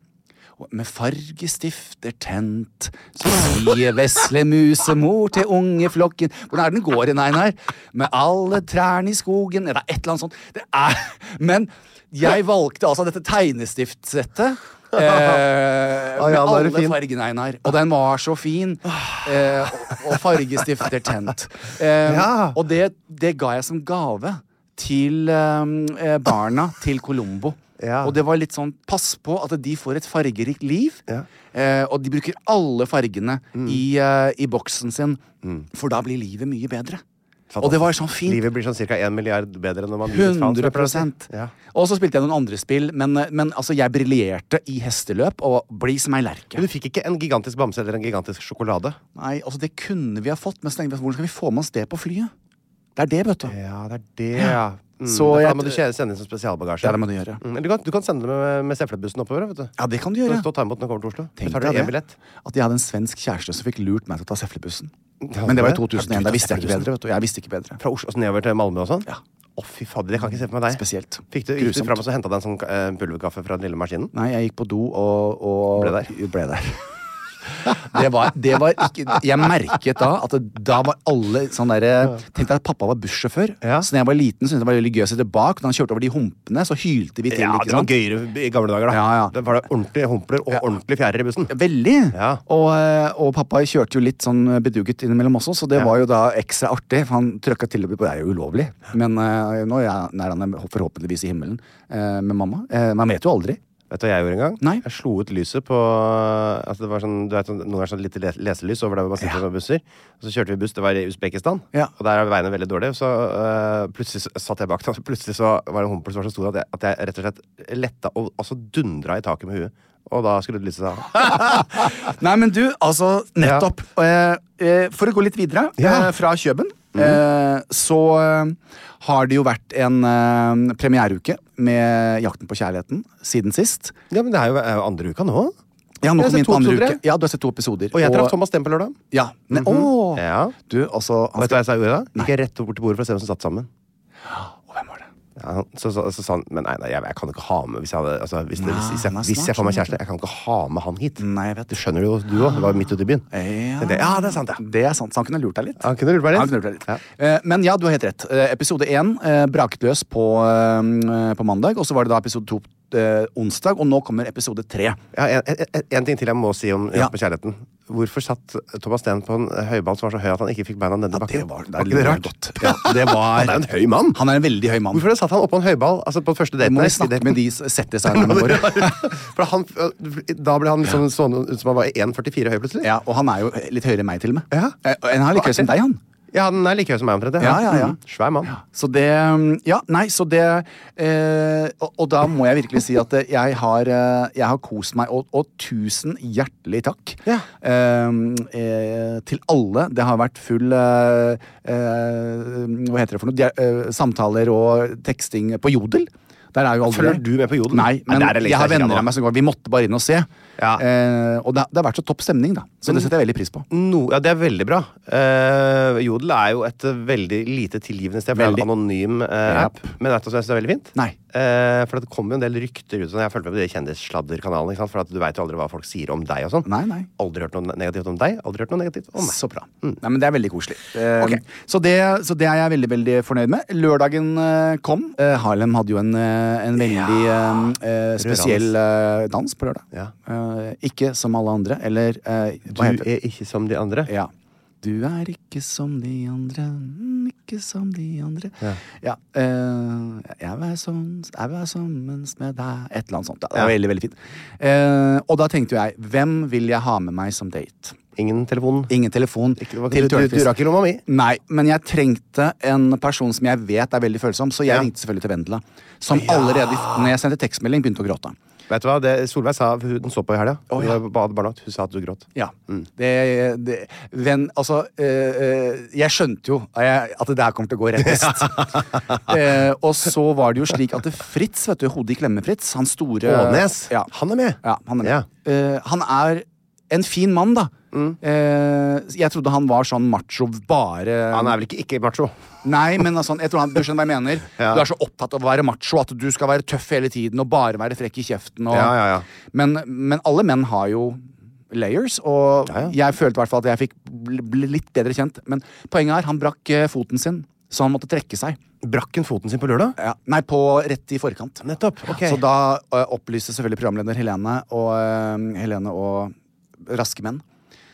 Speaker 2: Og Med fargestifter tent, så sier vesle musemor til ungeflokken Hvordan er den går igjen, Einar? Med alle trærne i skogen Eller et eller annet sånt. Det er Men jeg valgte altså dette tegnestiftssettet.
Speaker 3: (laughs)
Speaker 2: Eh,
Speaker 3: Å
Speaker 2: med
Speaker 3: ja, da er
Speaker 2: alle
Speaker 3: du fin.
Speaker 2: fargene, Einar. Og den var så fin. Eh, og- og fargestifter tent. Eh,
Speaker 3: Ja.
Speaker 2: Og det, det ga jeg som gave til eh, barna til Colombo.
Speaker 3: Ja.
Speaker 2: Og det var litt sånn Pass på at de får et fargerikt liv.
Speaker 3: Ja. Mm.
Speaker 2: Eh, og de bruker alle fargene i, eh, i boksen sin, for da blir livet mye bedre. Og det var sånn fint.
Speaker 3: Livet blir sånn ca. 1 milliard bedre når man gir et faen, som
Speaker 2: 100
Speaker 3: jeg pleier å si. Ja.
Speaker 2: Og så spilte jeg noen andre spill, men, men altså, jeg briljerte i hesteløp og bli som ei
Speaker 3: Men
Speaker 2: lerke.
Speaker 3: du fikk ikke en gigantisk bamse eller en gigantisk sjokolade?
Speaker 2: Nei, altså, det altså, kunne vi ha fått, men så tenkte vi, hvordan skal vi få med oss det på flyet? Det er det, vet du.
Speaker 3: Ja, det er det, ja.
Speaker 2: Så
Speaker 3: Derfor
Speaker 2: jeg,
Speaker 3: må du kje- sende inn som spesialbagasje.
Speaker 2: Ja, det må du gjøre.
Speaker 3: Mm, eller du, kan, du kan sende det med, med Seflebussen oppover. vet du.
Speaker 2: ja, det kan du gjøre.
Speaker 3: Stå og ta imot når du kommer til Oslo.
Speaker 2: Tenk
Speaker 3: Betaler du
Speaker 2: deg
Speaker 3: én
Speaker 2: det.
Speaker 3: billett.
Speaker 2: At jeg hadde en svensk kjæreste som fikk lurt meg til å ta Seflebussen.
Speaker 3: Ja,
Speaker 2: Men det var i
Speaker 3: det. Ja,
Speaker 2: 2001.
Speaker 3: du
Speaker 2: Da
Speaker 3: tar
Speaker 2: visste jeg ikke
Speaker 3: Seflebussen.
Speaker 2: bedre. vet du. Jeg visste ikke bedre.
Speaker 3: Fra Oslo og så nedover til Malmö og sånn?
Speaker 2: Ja.
Speaker 3: Å, fy fader, det kan jeg ikke se for meg deg.
Speaker 2: Spesielt.
Speaker 3: Fikk du, gikk du
Speaker 2: Grusomt.
Speaker 3: fram og så henta deg en sånn eh, pulverkaffe fra den lille maskinen?
Speaker 2: Nei, jeg gikk på do og, og
Speaker 3: Ble der.
Speaker 2: Ble der. (laughs) Det var, det var ikke Jeg merket da at det, da var alle sånn derre Tenk deg at pappa var bussjåfør.
Speaker 3: Ja.
Speaker 2: Så da jeg var liten, syntes jeg det var veldig gøy å sitte bak. Når han kjørte over de humpene, så hylte vi til.
Speaker 3: Ja,
Speaker 2: ikke
Speaker 3: det var
Speaker 2: sant?
Speaker 3: gøyere i gamle dager, da.
Speaker 2: sånn. Ja, ja.
Speaker 3: Da var det ordentlige humpler og ordentlige fjærer i bussen.
Speaker 2: Veldig.
Speaker 3: Ja.
Speaker 2: Og, eh, og pappa kjørte jo litt sånn bedugget innimellom også, så det var jo da ekstra artig. For han trøkka til og med på Det er jo ulovlig, men eh, nå er han- er han forhåpentligvis i himmelen eh, med mamma. Eh, man vet jo aldri. (laughs)
Speaker 3: Vet du hva jeg gjorde en gang?
Speaker 2: Nei.
Speaker 3: Jeg slo ut lyset på altså det var sånn, du vet, sånn, Noen ganger sånn lite le- leselys over der hvor man sitter med busser. Og så kjørte vi buss, det var i Usbekistan,
Speaker 2: Ja.
Speaker 3: og der er veiene veldig dårlige. Så øh, plutselig så satt jeg bak den, og så plutselig så var det en humpel som var så stor at jeg, at jeg rett og slett letta og altså dundra i taket med huet. Og da skrudde lyset seg av.
Speaker 2: (laughs) Nei, men du, altså, nettopp. Eh, eh, for å gå litt videre
Speaker 3: Ja. Mm.
Speaker 2: eh, fra Kjøben, eh, så eh, har det jo vært en eh, premiereuke med Jakten på kjærligheten siden sist.
Speaker 3: Ja, men det er jo er jo andre uka nå.
Speaker 2: Ja, nå kom
Speaker 3: Jeg har
Speaker 2: vi
Speaker 3: sett
Speaker 2: inn på
Speaker 3: to
Speaker 2: andre
Speaker 3: episoder,
Speaker 2: uke. Ja, du har sett to episoder.
Speaker 3: Og jeg traff Thomas Stempel lørdag.
Speaker 2: Ja. Ne Åh!
Speaker 3: Ja.
Speaker 2: Du, altså han
Speaker 3: Vet du hva jeg sa i ordet da?
Speaker 2: Nei.
Speaker 3: Gikk jeg rett bort til bordet for å se hvem som satt sammen.
Speaker 2: Å, hvem var det?
Speaker 3: Ja, han- så, så, så sa han Men nei, nei jeg, jeg kan ikke ha med Hvis jeg, hadde, altså, hvis, det, hvis, hvis, jeg,
Speaker 2: Nei, han er
Speaker 3: hvis jeg får
Speaker 2: smart,
Speaker 3: meg
Speaker 2: Mm.
Speaker 3: kjæreste, jeg kan ikke ha med han hit.
Speaker 2: Nei, jeg vet
Speaker 3: Du skjønner det jo, du òg. Det var jo midt ute i byen.
Speaker 2: Ja.
Speaker 3: Tenkte jeg, ja, det er sant, ja.
Speaker 2: Det er sant, så han kunne lurt deg litt.
Speaker 3: Han kunne lurt meg litt.
Speaker 2: Han kunne lurt deg litt.
Speaker 3: Ja.
Speaker 2: Eh, Men ja, du har helt rett. Eh, Episode én eh, braket løs på, eh, på mandag, og så var det da episode to eh, onsdag, og nå kommer episode tre.
Speaker 3: Ja, en, en- en, en ting til jeg må si om
Speaker 2: Ja.
Speaker 3: ja. på kjærligheten. Hvorfor satt Thomas Steen på en høyball som var så høy at han ikke fikk beina nedi bakken?
Speaker 2: er
Speaker 3: ikke det rart?
Speaker 2: godt. Ja, det var
Speaker 3: (laughs) Han er jo en høy mann!
Speaker 2: Han er en veldig høy mann.
Speaker 3: Hvorfor satt han oppå en høyball altså på første date?
Speaker 2: må
Speaker 3: nei,
Speaker 2: vi snakke
Speaker 3: (laughs) daten?
Speaker 2: med de settesangerne våre?
Speaker 3: For han, da ble han liksom sånn ut som han var 1,44 høy plutselig.
Speaker 2: Ja, og han er jo litt høyere enn meg, til og med.
Speaker 3: Ja.
Speaker 2: Eh, og Han er like høy som deg, han.
Speaker 3: Ja, den er like høy som meg omtrent.
Speaker 2: Ja, ja, ja.
Speaker 3: Mm, Svær mann.
Speaker 2: Så det mm, Ja, nei, så det eh, og, og da må jeg virkelig si at eh, jeg har, eh, jeg har kost meg, og, og tusen hjertelig takk
Speaker 3: Ja.
Speaker 2: eh, eh, til alle. Det har vært full eh, eh, Hva heter det for noe? Dia- eh, samtaler og teksting på Jodel. Der er jo aldri
Speaker 3: Følger du med på Jodel?
Speaker 2: Nei,
Speaker 3: Nei,
Speaker 2: men
Speaker 3: der er det lenge
Speaker 2: jeg har
Speaker 3: siden jeg
Speaker 2: venner
Speaker 3: kikket
Speaker 2: av meg som går Vi måtte bare inn og se.
Speaker 3: Ja. Mm.
Speaker 2: Eh, og det, det har vært så topp stemning, da. Så det setter jeg veldig pris på.
Speaker 3: No, ja, det er veldig bra. Eh, Jodel er jo et eh, veldig lite tilgivende sted, for det er en anonym eh,
Speaker 2: Ja.
Speaker 3: app. Men vet du hva jeg syns er veldig fint?
Speaker 2: Nei.
Speaker 3: Eh, for det kommer jo en del rykter ut. sånn. Jeg fulgte med på de kjendissladderkanalene. ikke sant? For at du veit jo aldri hva folk sier om deg og sånn.
Speaker 2: Nei, nei.
Speaker 3: Aldri hørt noe negativt om deg, aldri hørt noe negativt om meg.
Speaker 2: Så bra. Nei, men Det er veldig koselig. Eh, så, det, så det er jeg veldig veldig fornøyd med. Lørdagen eh, kom. Eh, Harlem hadde jo en, eh, en veldig eh, eh, spesiell eh, dans på lørdag.
Speaker 3: Ja.
Speaker 2: Eh, ikke som alle andre, eller eh,
Speaker 3: Du
Speaker 2: hva heter det?
Speaker 3: er ikke som de andre.
Speaker 2: Ja. Du er ikke som de andre, mm, ikke som de andre. Ja. eh, jeg var sånn, jeg var sammen med deg Et eller annet sånt. Det var
Speaker 3: Ja.
Speaker 2: veldig, veldig fint. Eh, og da tenkte jo jeg, hvem vil jeg ha med meg som date?
Speaker 3: Ingen telefon.
Speaker 2: Ingen telefon
Speaker 3: Ikke, det var,
Speaker 2: til
Speaker 3: du, du, du
Speaker 2: Tørnquist.
Speaker 3: rakk ikke lomma mi.
Speaker 2: Nei, men jeg trengte en person som jeg vet er veldig følsom, så jeg
Speaker 3: Ja.
Speaker 2: ringte selvfølgelig til Vendela. Som allerede når jeg sendte tekstmelding, begynte å gråte.
Speaker 3: Vet du hva, det, Solveig sa hun så på i helga.
Speaker 2: Å,
Speaker 3: Hun
Speaker 2: ja.
Speaker 3: var på bad barnevakt. Hun sa at du gråt.
Speaker 2: Ja.
Speaker 3: Mm.
Speaker 2: Det, det venn, Altså, eh, eh, jeg skjønte jo at jeg- at det der kommer til å gå
Speaker 3: (laughs)
Speaker 2: rett vest. eh, og så var det jo slik at det Fritz, vet du, hodet i klemme-Fritz, han store
Speaker 3: Ånes!
Speaker 2: Ja.
Speaker 3: Han er med!
Speaker 2: Ja, han er med.
Speaker 3: Ja. Mm.
Speaker 2: Eh, han er en fin mann, da. Eh, jeg trodde han var sånn macho bare
Speaker 3: Han er vel ikke ikke macho?
Speaker 2: Nei, men altså, jeg tror han, du skjønner hva jeg mener.
Speaker 3: (laughs) Ja.
Speaker 2: Du er så opptatt av å være macho at du skal være tøff hele tiden og bare være frekk i kjeften. Og...
Speaker 3: Ja, ja, ja.
Speaker 2: Men, men alle menn har jo layers, og
Speaker 3: Ja,
Speaker 2: jeg følte i hvert fall at jeg fikk bli bli litt bedre kjent. Men poenget er, han brakk eh, foten sin, så han måtte trekke seg.
Speaker 3: Brakk hun foten sin på lørdag?
Speaker 2: Nei, på rett i forkant.
Speaker 3: Nettopp. ok
Speaker 2: Så da eh, opplyste selvfølgelig programleder Helene og, eh, Helene og Raske menn.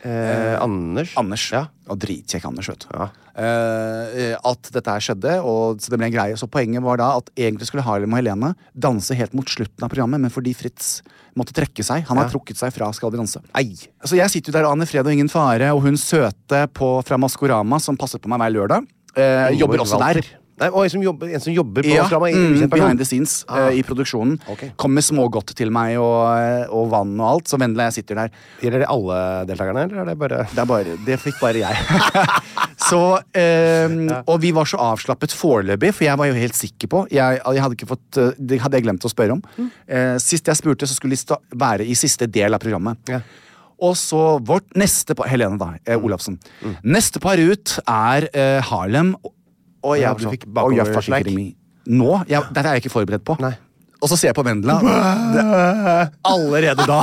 Speaker 3: eh, Anders.
Speaker 2: Anders.
Speaker 3: Ja.
Speaker 2: Og dritkjekk Anders, vet du.
Speaker 3: Ja.
Speaker 2: Eh, at dette her skjedde, og så det ble en greie. Så poenget var da at egentlig skulle Harlem og Helene danse helt mot slutten av programmet, men fordi Fritz måtte trekke seg Han har trukket seg fra Skal vi danse.
Speaker 3: Ei.
Speaker 2: Så jeg sitter jo der, Anne Fred og Ingen Fare, og hun søte på, fra Maskorama som passer på meg hver lørdag, eh, jobber også
Speaker 3: Walter.
Speaker 2: der.
Speaker 3: Nei, og en som jobber, en som jobber på
Speaker 2: Ja,
Speaker 3: Maskorama, en
Speaker 2: mm,
Speaker 3: ukjent person.
Speaker 2: behind the scenes eh, i produksjonen.
Speaker 3: Ok.
Speaker 2: Kommer smågodt til meg og, eh, og vann og alt, så Vendela og jeg sitter der.
Speaker 3: Gjelder det alle deltakerne, eller er det bare
Speaker 2: Det, er bare, det fikk bare jeg. (laughs) Så eh, Og vi var så avslappet foreløpig, for jeg var jo helt sikker på Jeg, jeg hadde ikke fått eh, Det hadde jeg glemt å spørre om. Eh, sist jeg spurte, så skulle de sta være i siste del av programmet.
Speaker 3: Ja. Mm.
Speaker 2: Og så vårt neste par Helene, da. Eh, Olafsen. Neste par ut er eh, Harlem. Og, og jeg
Speaker 3: Ja,
Speaker 2: var
Speaker 3: du
Speaker 2: sånn,
Speaker 3: fikk
Speaker 2: «Å, you're
Speaker 3: bakoversleik.
Speaker 2: fucking kidding me». Nå? Jeg, dette er jeg ikke forberedt på.
Speaker 3: Nei.
Speaker 2: Og så ser jeg på Vendela. Det,
Speaker 3: (laughs)
Speaker 2: allerede da.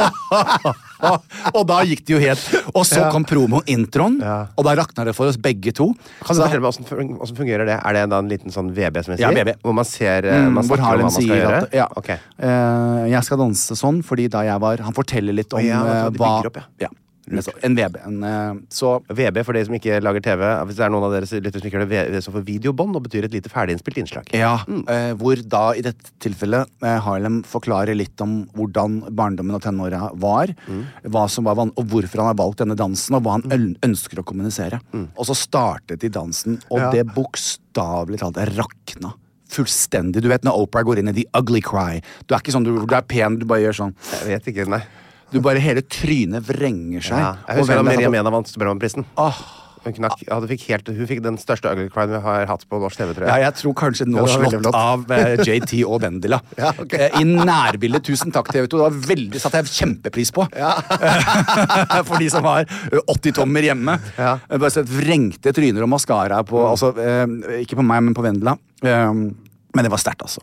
Speaker 2: (laughs) og da gikk det jo helt Og så kom promo-introen, og da rakna det for oss begge to.
Speaker 3: Kan du
Speaker 2: Så da-
Speaker 3: fortelle meg hvordan fun- hvordan fungerer det? Er det da en liten sånn VB som jeg
Speaker 2: Ja,
Speaker 3: sier?
Speaker 2: VB.
Speaker 3: Hvor man ser eh, man
Speaker 2: hvor
Speaker 3: snakker om hva
Speaker 2: Harlem
Speaker 3: man skal
Speaker 2: sier
Speaker 3: gjøre?
Speaker 2: at ja.
Speaker 3: Ok.
Speaker 2: eh, Jeg skal danse sånn, fordi da jeg var Han forteller litt om
Speaker 3: Å ja,
Speaker 2: eh,
Speaker 3: at de
Speaker 2: hva
Speaker 3: bygger opp, ja.
Speaker 2: nettopp. En VB. En, eh, så
Speaker 3: VB for de som ikke lager TV. Hvis det er noen av dere som lytter som ikke gjør det, VB står for videobånd og betyr et lite ferdiginnspilt innslag.
Speaker 2: Ja, eh, hvor da i dette tilfellet eh, Harlem forklarer litt om hvordan barndommen og tenåra var.
Speaker 3: Mm.
Speaker 2: Hva som var van og hvorfor han har valgt denne dansen, og hva han øl- ønsker å kommunisere.
Speaker 3: Mm.
Speaker 2: Og så startet de dansen, og det bokstavelig talt rakna. Fullstendig. Du vet når Opera går inn i the ugly cry. Du er ikke sånn, du, du er pen, du bare gjør sånn.
Speaker 3: Jeg vet ikke, nei.
Speaker 2: Du bare Hele trynet vrenger seg.
Speaker 3: Ja. Jeg husker
Speaker 2: hvem
Speaker 3: da
Speaker 2: det er sånn,
Speaker 3: Miriam
Speaker 2: som-
Speaker 3: Mena vant Spellemannprisen. Hun, knakk, ja, hun fikk helt, hun fikk den største ugly crime vi har hatt på norsk TV, tror
Speaker 2: Ja,
Speaker 3: jeg.
Speaker 2: jeg tror kanskje nå
Speaker 3: Ja, det var veldig
Speaker 2: slått
Speaker 3: flott.
Speaker 2: av eh, JT og Vendela.
Speaker 3: (laughs) Ja, ok.
Speaker 2: Eh, I nærbildet. Tusen takk, TV 2. Det var veldig, satte jeg kjempepris på. (laughs) For de som har eh, 80 tommer hjemme.
Speaker 3: Ja. Mm.
Speaker 2: Eh, Bare sett vrengte tryner og maskara på altså, eh, Ikke på meg, men på Vendela. Eh, men det var sterkt, altså.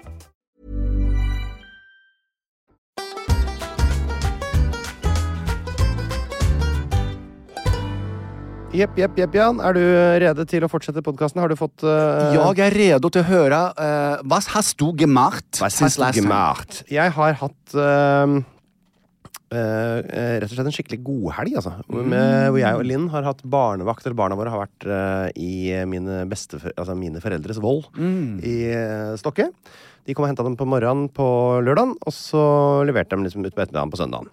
Speaker 3: Jepp, jepp, jepp, Jan. Er du rede til å fortsette podkasten? Har du fått eh,
Speaker 2: Jeg er redo til å høre eh, Hva har du gemacht?
Speaker 3: Was hast du gemacht? Jeg har hatt eh, eh, eh, rett og slett en skikkelig godhelg, altså. Hvor- Med, hvor jeg og Linn har hatt barnevakt, eller barna våre har vært eh, i mine, bestefo- altså mine foreldres vold i eh, Stokke. De kom og henta dem på morgenen på lørdagen, og så leverte de liksom ut på ettermiddagen på søndagen.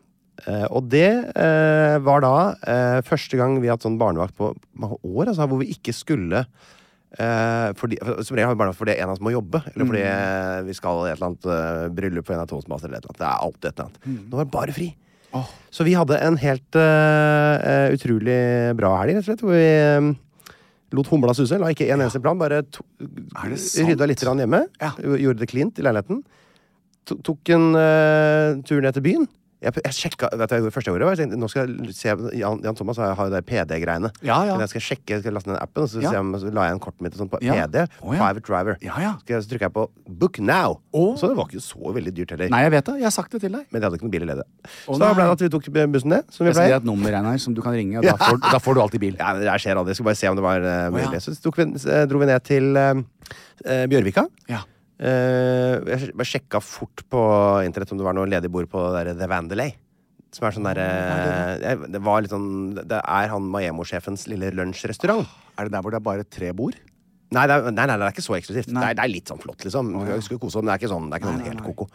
Speaker 3: Eh, og det eh, var da eh, første gang vi har hatt sånn barnevakt på mange år, altså, hvor vi ikke skulle Eh, fordi, for, som regel har vi barnevakt fordi en av oss må jobbe, eller fordi eh, vi skal i et eller annet eh, bryllup på en av toastmaster. Eller et eller annet. Det er alltid et eller annet. Nå var det bare fri. Så vi hadde en helt eh, eh, utrolig bra helg, rett og slett. Hvor vi eh, lot humla suse. La ikke en eneste plan. Bare to,
Speaker 2: Er det sant?
Speaker 3: rydda litt grann hjemme.
Speaker 2: Ja.
Speaker 3: Gjorde det cleant i leiligheten. To- Tok en eh, tur ned til byen. Jeg, jeg sjekka, vet du, hva jeg gjorde første året var jeg tenkte, nå skal jeg se, Jan, Jan Thomas har har jo de PD-greiene.
Speaker 2: Ja, ja.
Speaker 3: Men Jeg skal sjekke, jeg skal laste ned appen, og så,
Speaker 2: Ja.
Speaker 3: se om, så la jeg inn kortet mitt og sånn på
Speaker 2: Ja.
Speaker 3: PD.
Speaker 2: Å, ja.
Speaker 3: Private driver.
Speaker 2: Ja, ja.
Speaker 3: Skal jeg, så trykker jeg på book now.
Speaker 2: Å.
Speaker 3: Så det var ikke så veldig dyrt heller.
Speaker 2: Nei, jeg vet det. Jeg har sagt det til deg.
Speaker 3: Men jeg hadde ikke noen bil i ledet.
Speaker 2: Å,
Speaker 3: så da ble
Speaker 2: nei.
Speaker 3: det at vi tok bussen ned. Som vi
Speaker 2: Jeg skal gi deg
Speaker 3: pleier.
Speaker 2: et nummer Einar, som du kan ringe. og
Speaker 3: Ja.
Speaker 2: Da får, da får du alltid bil.
Speaker 3: Ja, men det her skjer aldri. Jeg skulle bare se om det var eh,
Speaker 2: ja.
Speaker 3: mulig. Så tok vi, eh, dro vi ned til eh, eh, Bjørvika.
Speaker 2: Ja.
Speaker 3: Eh, jeg sj- bare sjekka fort på internett om det var noe ledig bord på det der The Vandelay. Som er sånn derre jeg- Det var litt sånn Det er han Maemo-sjefens lille lunsjrestaurant.
Speaker 2: Er det der hvor det er bare tre bord?
Speaker 3: Nei, det er, nei, nei, det er ikke så eksklusivt.
Speaker 2: Nei.
Speaker 3: Det, er, det er litt sånn flott, liksom. Du skal kose deg, men det er ikke sånn, det er ikke sånn helt
Speaker 2: nei.
Speaker 3: koko.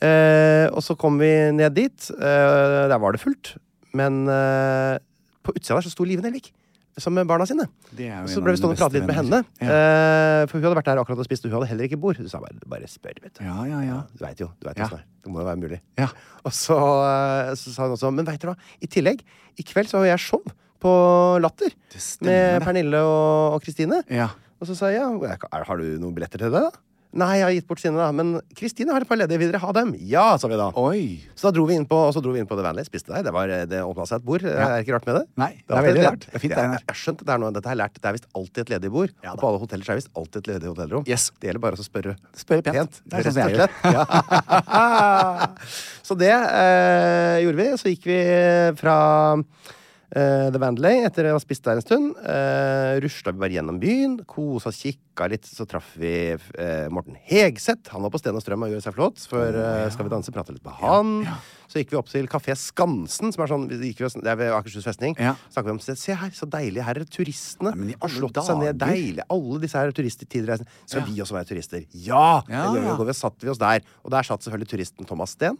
Speaker 3: Eh, og så kom vi ned dit. Eh, der var det fullt. Men eh, på utsida der så sto Live Nelvik. Som med barna sine.
Speaker 2: Det er jo
Speaker 3: Og
Speaker 2: en av
Speaker 3: så ble vi
Speaker 2: mine
Speaker 3: stående og prate
Speaker 2: beste
Speaker 3: litt med henne.
Speaker 2: venner.
Speaker 3: Eh, for hun hadde vært der akkurat og spist, og hun hadde heller ikke bord. Så sa jeg bare, bare spør, vet du.
Speaker 2: Ja, ja, ja.
Speaker 3: Du veit jo. Du vet
Speaker 2: Ja.
Speaker 3: hvordan det er. Det må jo være mulig.
Speaker 2: Ja.
Speaker 3: Og så, eh, så sa hun også Men veit dere hva? I tillegg, i kveld så har jeg show på Latter.
Speaker 2: Det stemmer,
Speaker 3: Med
Speaker 2: det.
Speaker 3: Pernille og og Kristine.
Speaker 2: Ja.
Speaker 3: Og så sa jeg ja, er, har du noen billetter til det? da? Nei, jeg har gitt bort sine, da. Men Kristine har et par ledige. Vil dere ha dem? Ja, sa vi da.
Speaker 2: Oi!
Speaker 3: Så da dro vi inn på, og så dro vi inn på The Vanley. Spiste der. Det, var, eh, det åpna seg et bord. Det er ikke rart med det.
Speaker 2: Nei, det er
Speaker 3: alltid
Speaker 2: veldig
Speaker 3: et-
Speaker 2: rart. Det er fint, det er
Speaker 3: jeg,
Speaker 2: rart.
Speaker 3: jeg, har skjønt at det er noe, dette har jeg lært. Det er visst alltid et ledig bord. og på alle hoteller så er det visst alltid et ledig hotellrom.
Speaker 2: Yes.
Speaker 3: Det gjelder bare å spørre,
Speaker 2: Spørre pent. Det er sånn som jeg gjør.
Speaker 3: Ja. (laughs) så det eh, gjorde vi. Så gikk vi fra eh, The Vandelay etter å ha spist der en stund. Uh, Rusla vi bare gjennom byen, kosa, kikka litt. Så traff vi eh, Morten Hegseth. Han var på Sten og Strøm og gjorde seg flott. For eh, Skal vi danse? Prate litt med han. Så gikk vi opp til Kafé Skansen, som er sånn, vi gikk vi, det er ved Akershus festning.
Speaker 2: Ja.
Speaker 3: Snakket vi om, se, se her, så deilig. Her er turistene.
Speaker 2: Nei, men i
Speaker 3: har
Speaker 2: alle
Speaker 3: slått seg ned
Speaker 2: dager.
Speaker 3: deilig. Alle disse her turisttilreisende. Skal vi også være turister? Ja!
Speaker 2: Ja.
Speaker 3: Det gjør vi, og vi satt vi oss der. Og der satt selvfølgelig turisten Thomas Steen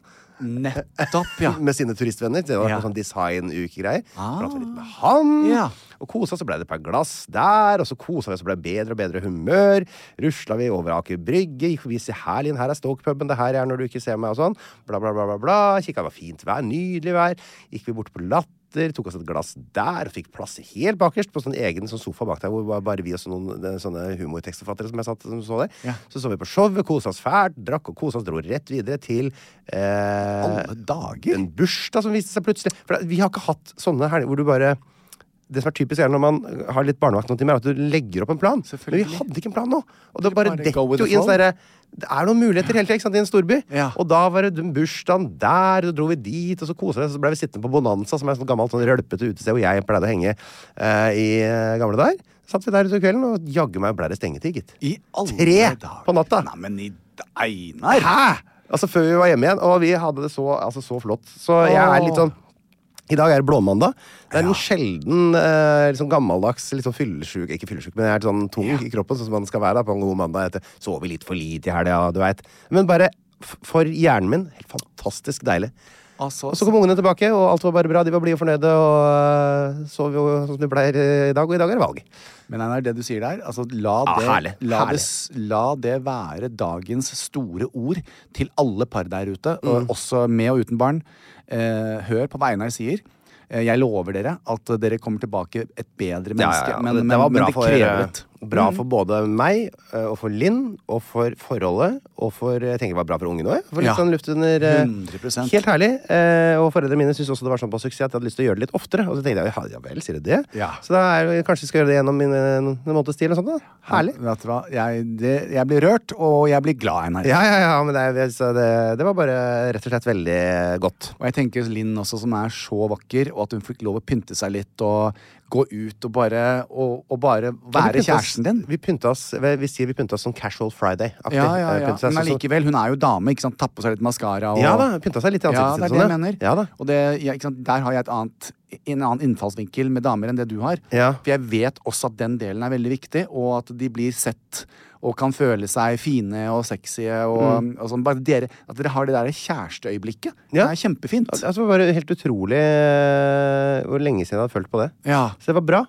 Speaker 2: Nettopp, ja.
Speaker 3: med sine turistvenner. Det var
Speaker 2: Ja.
Speaker 3: på sånn design-uke-greier.
Speaker 2: Ah.
Speaker 3: Pratet litt med han.
Speaker 2: Ja.
Speaker 3: Og kosa, så ble det et par glass der. Og så kosa vi oss og ble bedre og bedre humør. Rusla vi over Aker Brygge, gikk forbi Se her, Linn, her er Stoke-puben, det her er når du ikke ser meg, og sånn. Bla, bla, bla, bla. bla. Kikka, det var fint vær, nydelig vær. Gikk vi bort på Latter, tok oss et glass der, og fikk plass helt bakerst på sånn egen sånn sofa bak der, hvor var bare vi og sånne, noen, eh, sånne humortekstforfattere som jeg satt som så der.
Speaker 2: Ja.
Speaker 3: Så så vi på showet, kosa oss fælt, drakk og kosa oss, dro rett videre til eh,
Speaker 2: Alle dager.
Speaker 3: en bursdag som viste seg plutselig. For det- vi har ikke hatt sånne helger hvor du bare det som er typisk er når man har litt barnevakt, noen timer, er at du legger opp en plan. Men vi
Speaker 2: Selvfølgelig.
Speaker 3: hadde ikke en plan nå. Og det bare,
Speaker 2: bare go
Speaker 3: detter
Speaker 2: with
Speaker 3: jo
Speaker 2: the
Speaker 3: inn
Speaker 2: flow.
Speaker 3: sånn derre Det er noen muligheter hele tida ikke sant, i en storby.
Speaker 2: Ja.
Speaker 3: Og da var det den bursdagen der, og så dro vi dit, og så kosa vi oss. og Så ble vi sittende på Bonanza, som er et sånt gammelt sånn rølpete utested hvor jeg pleide å henge eh, i eh, gamle dager. Satt vi der utover kvelden, og jaggu meg ble det stengetid, gitt.
Speaker 2: I alle
Speaker 3: Tre
Speaker 2: dager.
Speaker 3: på natta.
Speaker 2: Nei, men i d- Einar!
Speaker 3: Hæ?! Altså Før vi var hjemme igjen. Og vi hadde det så, altså, så flott. Så jeg er litt sånn I dag er det blåmandag. Det er en sjelden eh, liksom gammeldags litt sånn fyllesyk Ikke fyllesyk, men jeg er litt sånn tung i kroppen, sånn som man skal være da, på en god mandag etter Sover litt for lite i helga, du veit. Men bare f- for hjernen min helt fantastisk deilig.
Speaker 2: Altså,
Speaker 3: Og så kom ungene tilbake, og alt var bare bra. De var blide og fornøyde, og eh, sov jo sånn som de pleier eh, i dag. Og i dag er det valg.
Speaker 2: Men Einar, det du sier der, altså la
Speaker 3: Ah,
Speaker 2: det,
Speaker 3: herlig,
Speaker 2: la,
Speaker 3: herlig.
Speaker 2: Det, s- la det være dagens store ord til alle par der ute,
Speaker 3: Mm.
Speaker 2: og også med og uten barn. Eh, hør på hva Einar sier. Eh, Jeg lover dere at dere kommer tilbake et bedre menneske. Men,
Speaker 3: det,
Speaker 2: men,
Speaker 3: det var bra,
Speaker 2: men det krever Mm, litt.
Speaker 3: for, eh, bra for både meg eh, og for Linn og for forholdet. Og for, eh, jeg tenker det var bra for ungene òg.
Speaker 2: Ja.
Speaker 3: Sånn luft under, eh,
Speaker 2: 100%.
Speaker 3: helt herlig. eh, og foreldrene mine syntes også det var sånn på suksess at de hadde lyst til å gjøre det litt oftere. Og så tenkte jeg ja, ja vel, sier du det?
Speaker 2: Ja.
Speaker 3: Så da er, det- kanskje vi skal gjøre det gjennom min, eh, en måneds tid eller noe sånt. Da. Herlig.
Speaker 2: Vet du hva? Jeg, det, jeg blir rørt, og jeg blir glad, Einar.
Speaker 3: Ja, ja, ja, men det, er- så det, det var bare rett og slett veldig godt.
Speaker 2: Og jeg tenker Linn også, som er så vakker, og at hun fikk lov å pynte seg litt og gå ut og bare, og, og bare
Speaker 3: Vi
Speaker 2: være
Speaker 3: pynta oss-
Speaker 2: kjæresten din.
Speaker 3: Vi pynta oss vi, vi sier vi pynta oss sånn casual Friday-aktig.
Speaker 2: Ja, ja,
Speaker 3: Eh,
Speaker 2: ja.
Speaker 3: pynta seg
Speaker 2: Men
Speaker 3: sånn-
Speaker 2: allikevel, hun er jo dame. ikke sant? Tatt på seg litt maskara. Og...
Speaker 3: Ja da, pynta seg litt
Speaker 2: Ja,
Speaker 3: i
Speaker 2: det er
Speaker 3: ansiktet sitt og
Speaker 2: det jeg
Speaker 3: sånn,
Speaker 2: mener.
Speaker 3: ja. Ja da.
Speaker 2: Og det, ja, ikke sant? der har jeg et annet, en annen innfallsvinkel med damer enn det du har.
Speaker 3: Ja.
Speaker 2: For jeg vet også at den delen er veldig viktig, og at de blir sett og kan føle seg fine og sexy. Og, og sånn. Bare dere, at dere har det der kjæresteøyeblikket.
Speaker 3: Mm. Ja.
Speaker 2: Det er kjempefint.
Speaker 3: Altså, det var bare helt utrolig eh, hvor lenge siden jeg hadde følt på det.
Speaker 2: Ja.
Speaker 3: Så det var bra.